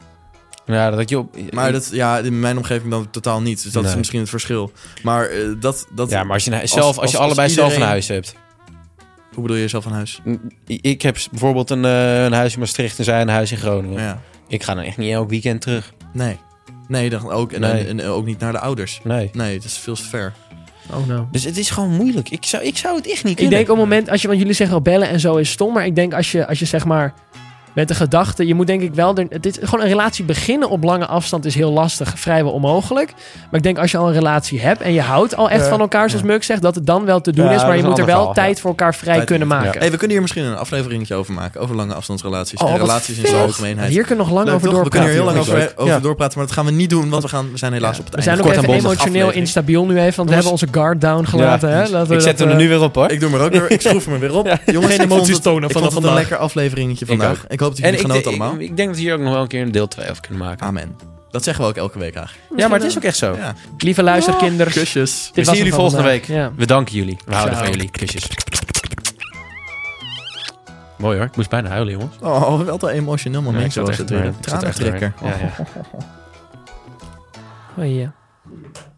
Speaker 1: ja, nou, dat je op...
Speaker 2: Maar dat, ja, in mijn omgeving dan totaal niet. Dus dat is
Speaker 1: Nee.
Speaker 2: misschien het verschil. Maar eh, dat, dat...
Speaker 1: ja, maar als je, nou
Speaker 2: als-
Speaker 1: zelf, als,
Speaker 2: als-
Speaker 1: je
Speaker 2: als
Speaker 1: allebei zelf een
Speaker 2: iedereen-
Speaker 1: huis hebt.
Speaker 2: Hoe bedoel je zelf van huis?
Speaker 1: Ik heb bijvoorbeeld een, eh, een huis in Maastricht en zij een huis in Groningen.
Speaker 2: Ja.
Speaker 1: Ik ga dan echt niet elk weekend terug.
Speaker 2: Nee. Nee, dan ook. En,
Speaker 1: Nee.
Speaker 2: en, en ook niet naar de ouders.
Speaker 1: Nee.
Speaker 2: Nee, dat is veel te ver.
Speaker 3: Oh no.
Speaker 1: Dus het is gewoon moeilijk. Ik zou, ik zou het echt niet
Speaker 3: Ik
Speaker 1: kunnen.
Speaker 3: denk op het moment, als je, want jullie zeggen al bellen en zo is stom, maar ik denk als je, als je zeg maar met de gedachte, je moet denk ik wel, er, het is, gewoon een relatie beginnen op lange afstand is heel lastig, vrijwel onmogelijk. Maar ik denk als je al een relatie hebt en je houdt al echt
Speaker 1: Ja.
Speaker 3: van elkaar, zoals Muk zegt, dat het dan wel te doen
Speaker 1: Ja,
Speaker 3: is,
Speaker 1: dat
Speaker 3: maar
Speaker 1: is
Speaker 3: je
Speaker 1: een
Speaker 3: moet er
Speaker 1: ander
Speaker 3: wel
Speaker 1: verhaal,
Speaker 3: tijd voor elkaar vrij
Speaker 2: Tijd-
Speaker 3: kunnen
Speaker 2: ja.
Speaker 3: maken.
Speaker 2: Hey, we kunnen hier misschien een afleveringetje over maken. Over lange afstandsrelaties
Speaker 3: Oh,
Speaker 2: en
Speaker 3: wat
Speaker 2: relaties in zijn
Speaker 3: vet.
Speaker 2: algemeenheid.
Speaker 3: Hier kunnen we nog lang
Speaker 2: Leuk,
Speaker 3: over
Speaker 2: toch? We
Speaker 3: doorpraten.
Speaker 2: kunnen hier heel lang
Speaker 1: Ja,
Speaker 2: over,
Speaker 1: vind ik leuk.
Speaker 2: over
Speaker 1: Ja.
Speaker 2: doorpraten. Maar dat gaan we niet doen, want we, gaan, we zijn helaas op het
Speaker 3: we
Speaker 2: einde.
Speaker 3: zijn ook
Speaker 1: Kort
Speaker 3: even
Speaker 1: en bondig.
Speaker 3: emotioneel
Speaker 2: Aflevering.
Speaker 3: instabiel nu even, want we hebben onze guard down gelaten.
Speaker 1: Ja.
Speaker 3: Hè? Laten we
Speaker 1: ik zet
Speaker 3: dat,
Speaker 1: hem er
Speaker 3: eh,
Speaker 1: nu weer op hoor.
Speaker 2: Ik doe hem er ook weer. Ik schroef hem er weer op. Jongens,
Speaker 3: Geen
Speaker 2: ik vond
Speaker 3: emoties
Speaker 2: het-
Speaker 3: tonen
Speaker 2: Ik
Speaker 3: vanaf
Speaker 2: vond het een
Speaker 3: vandaag.
Speaker 2: lekker afleveringetje
Speaker 1: Ik
Speaker 2: vandaag. Ik, hoop dat jullie
Speaker 1: ik,
Speaker 2: genoten
Speaker 1: ik,
Speaker 2: allemaal.
Speaker 1: ik denk dat we hier ook nog wel een keer een deel 2 over kunnen
Speaker 3: Ah.
Speaker 1: maken.
Speaker 2: Amen. Dat zeggen we ook elke week eigenlijk.
Speaker 1: ja, maar het is ook echt zo.
Speaker 2: Ja.
Speaker 3: Lieve luisterkinders. dit
Speaker 2: Kusjes.
Speaker 1: We zien
Speaker 3: was
Speaker 1: jullie
Speaker 3: hem voor
Speaker 1: volgende week.
Speaker 3: vandaag. Ja.
Speaker 1: We danken jullie. We houden
Speaker 3: Ciao.
Speaker 1: van jullie. Kusjes. Mooi hoor. Ik moest bijna huilen, jongens.
Speaker 2: Oh, wel een emotioneel moment.
Speaker 1: ik
Speaker 2: zo was
Speaker 1: zat echt
Speaker 2: het
Speaker 1: doorheen.
Speaker 2: weer.
Speaker 1: Ik zat echt doorheen.
Speaker 2: Tranentrekker.
Speaker 1: Ja, ja.
Speaker 3: Oh, ja.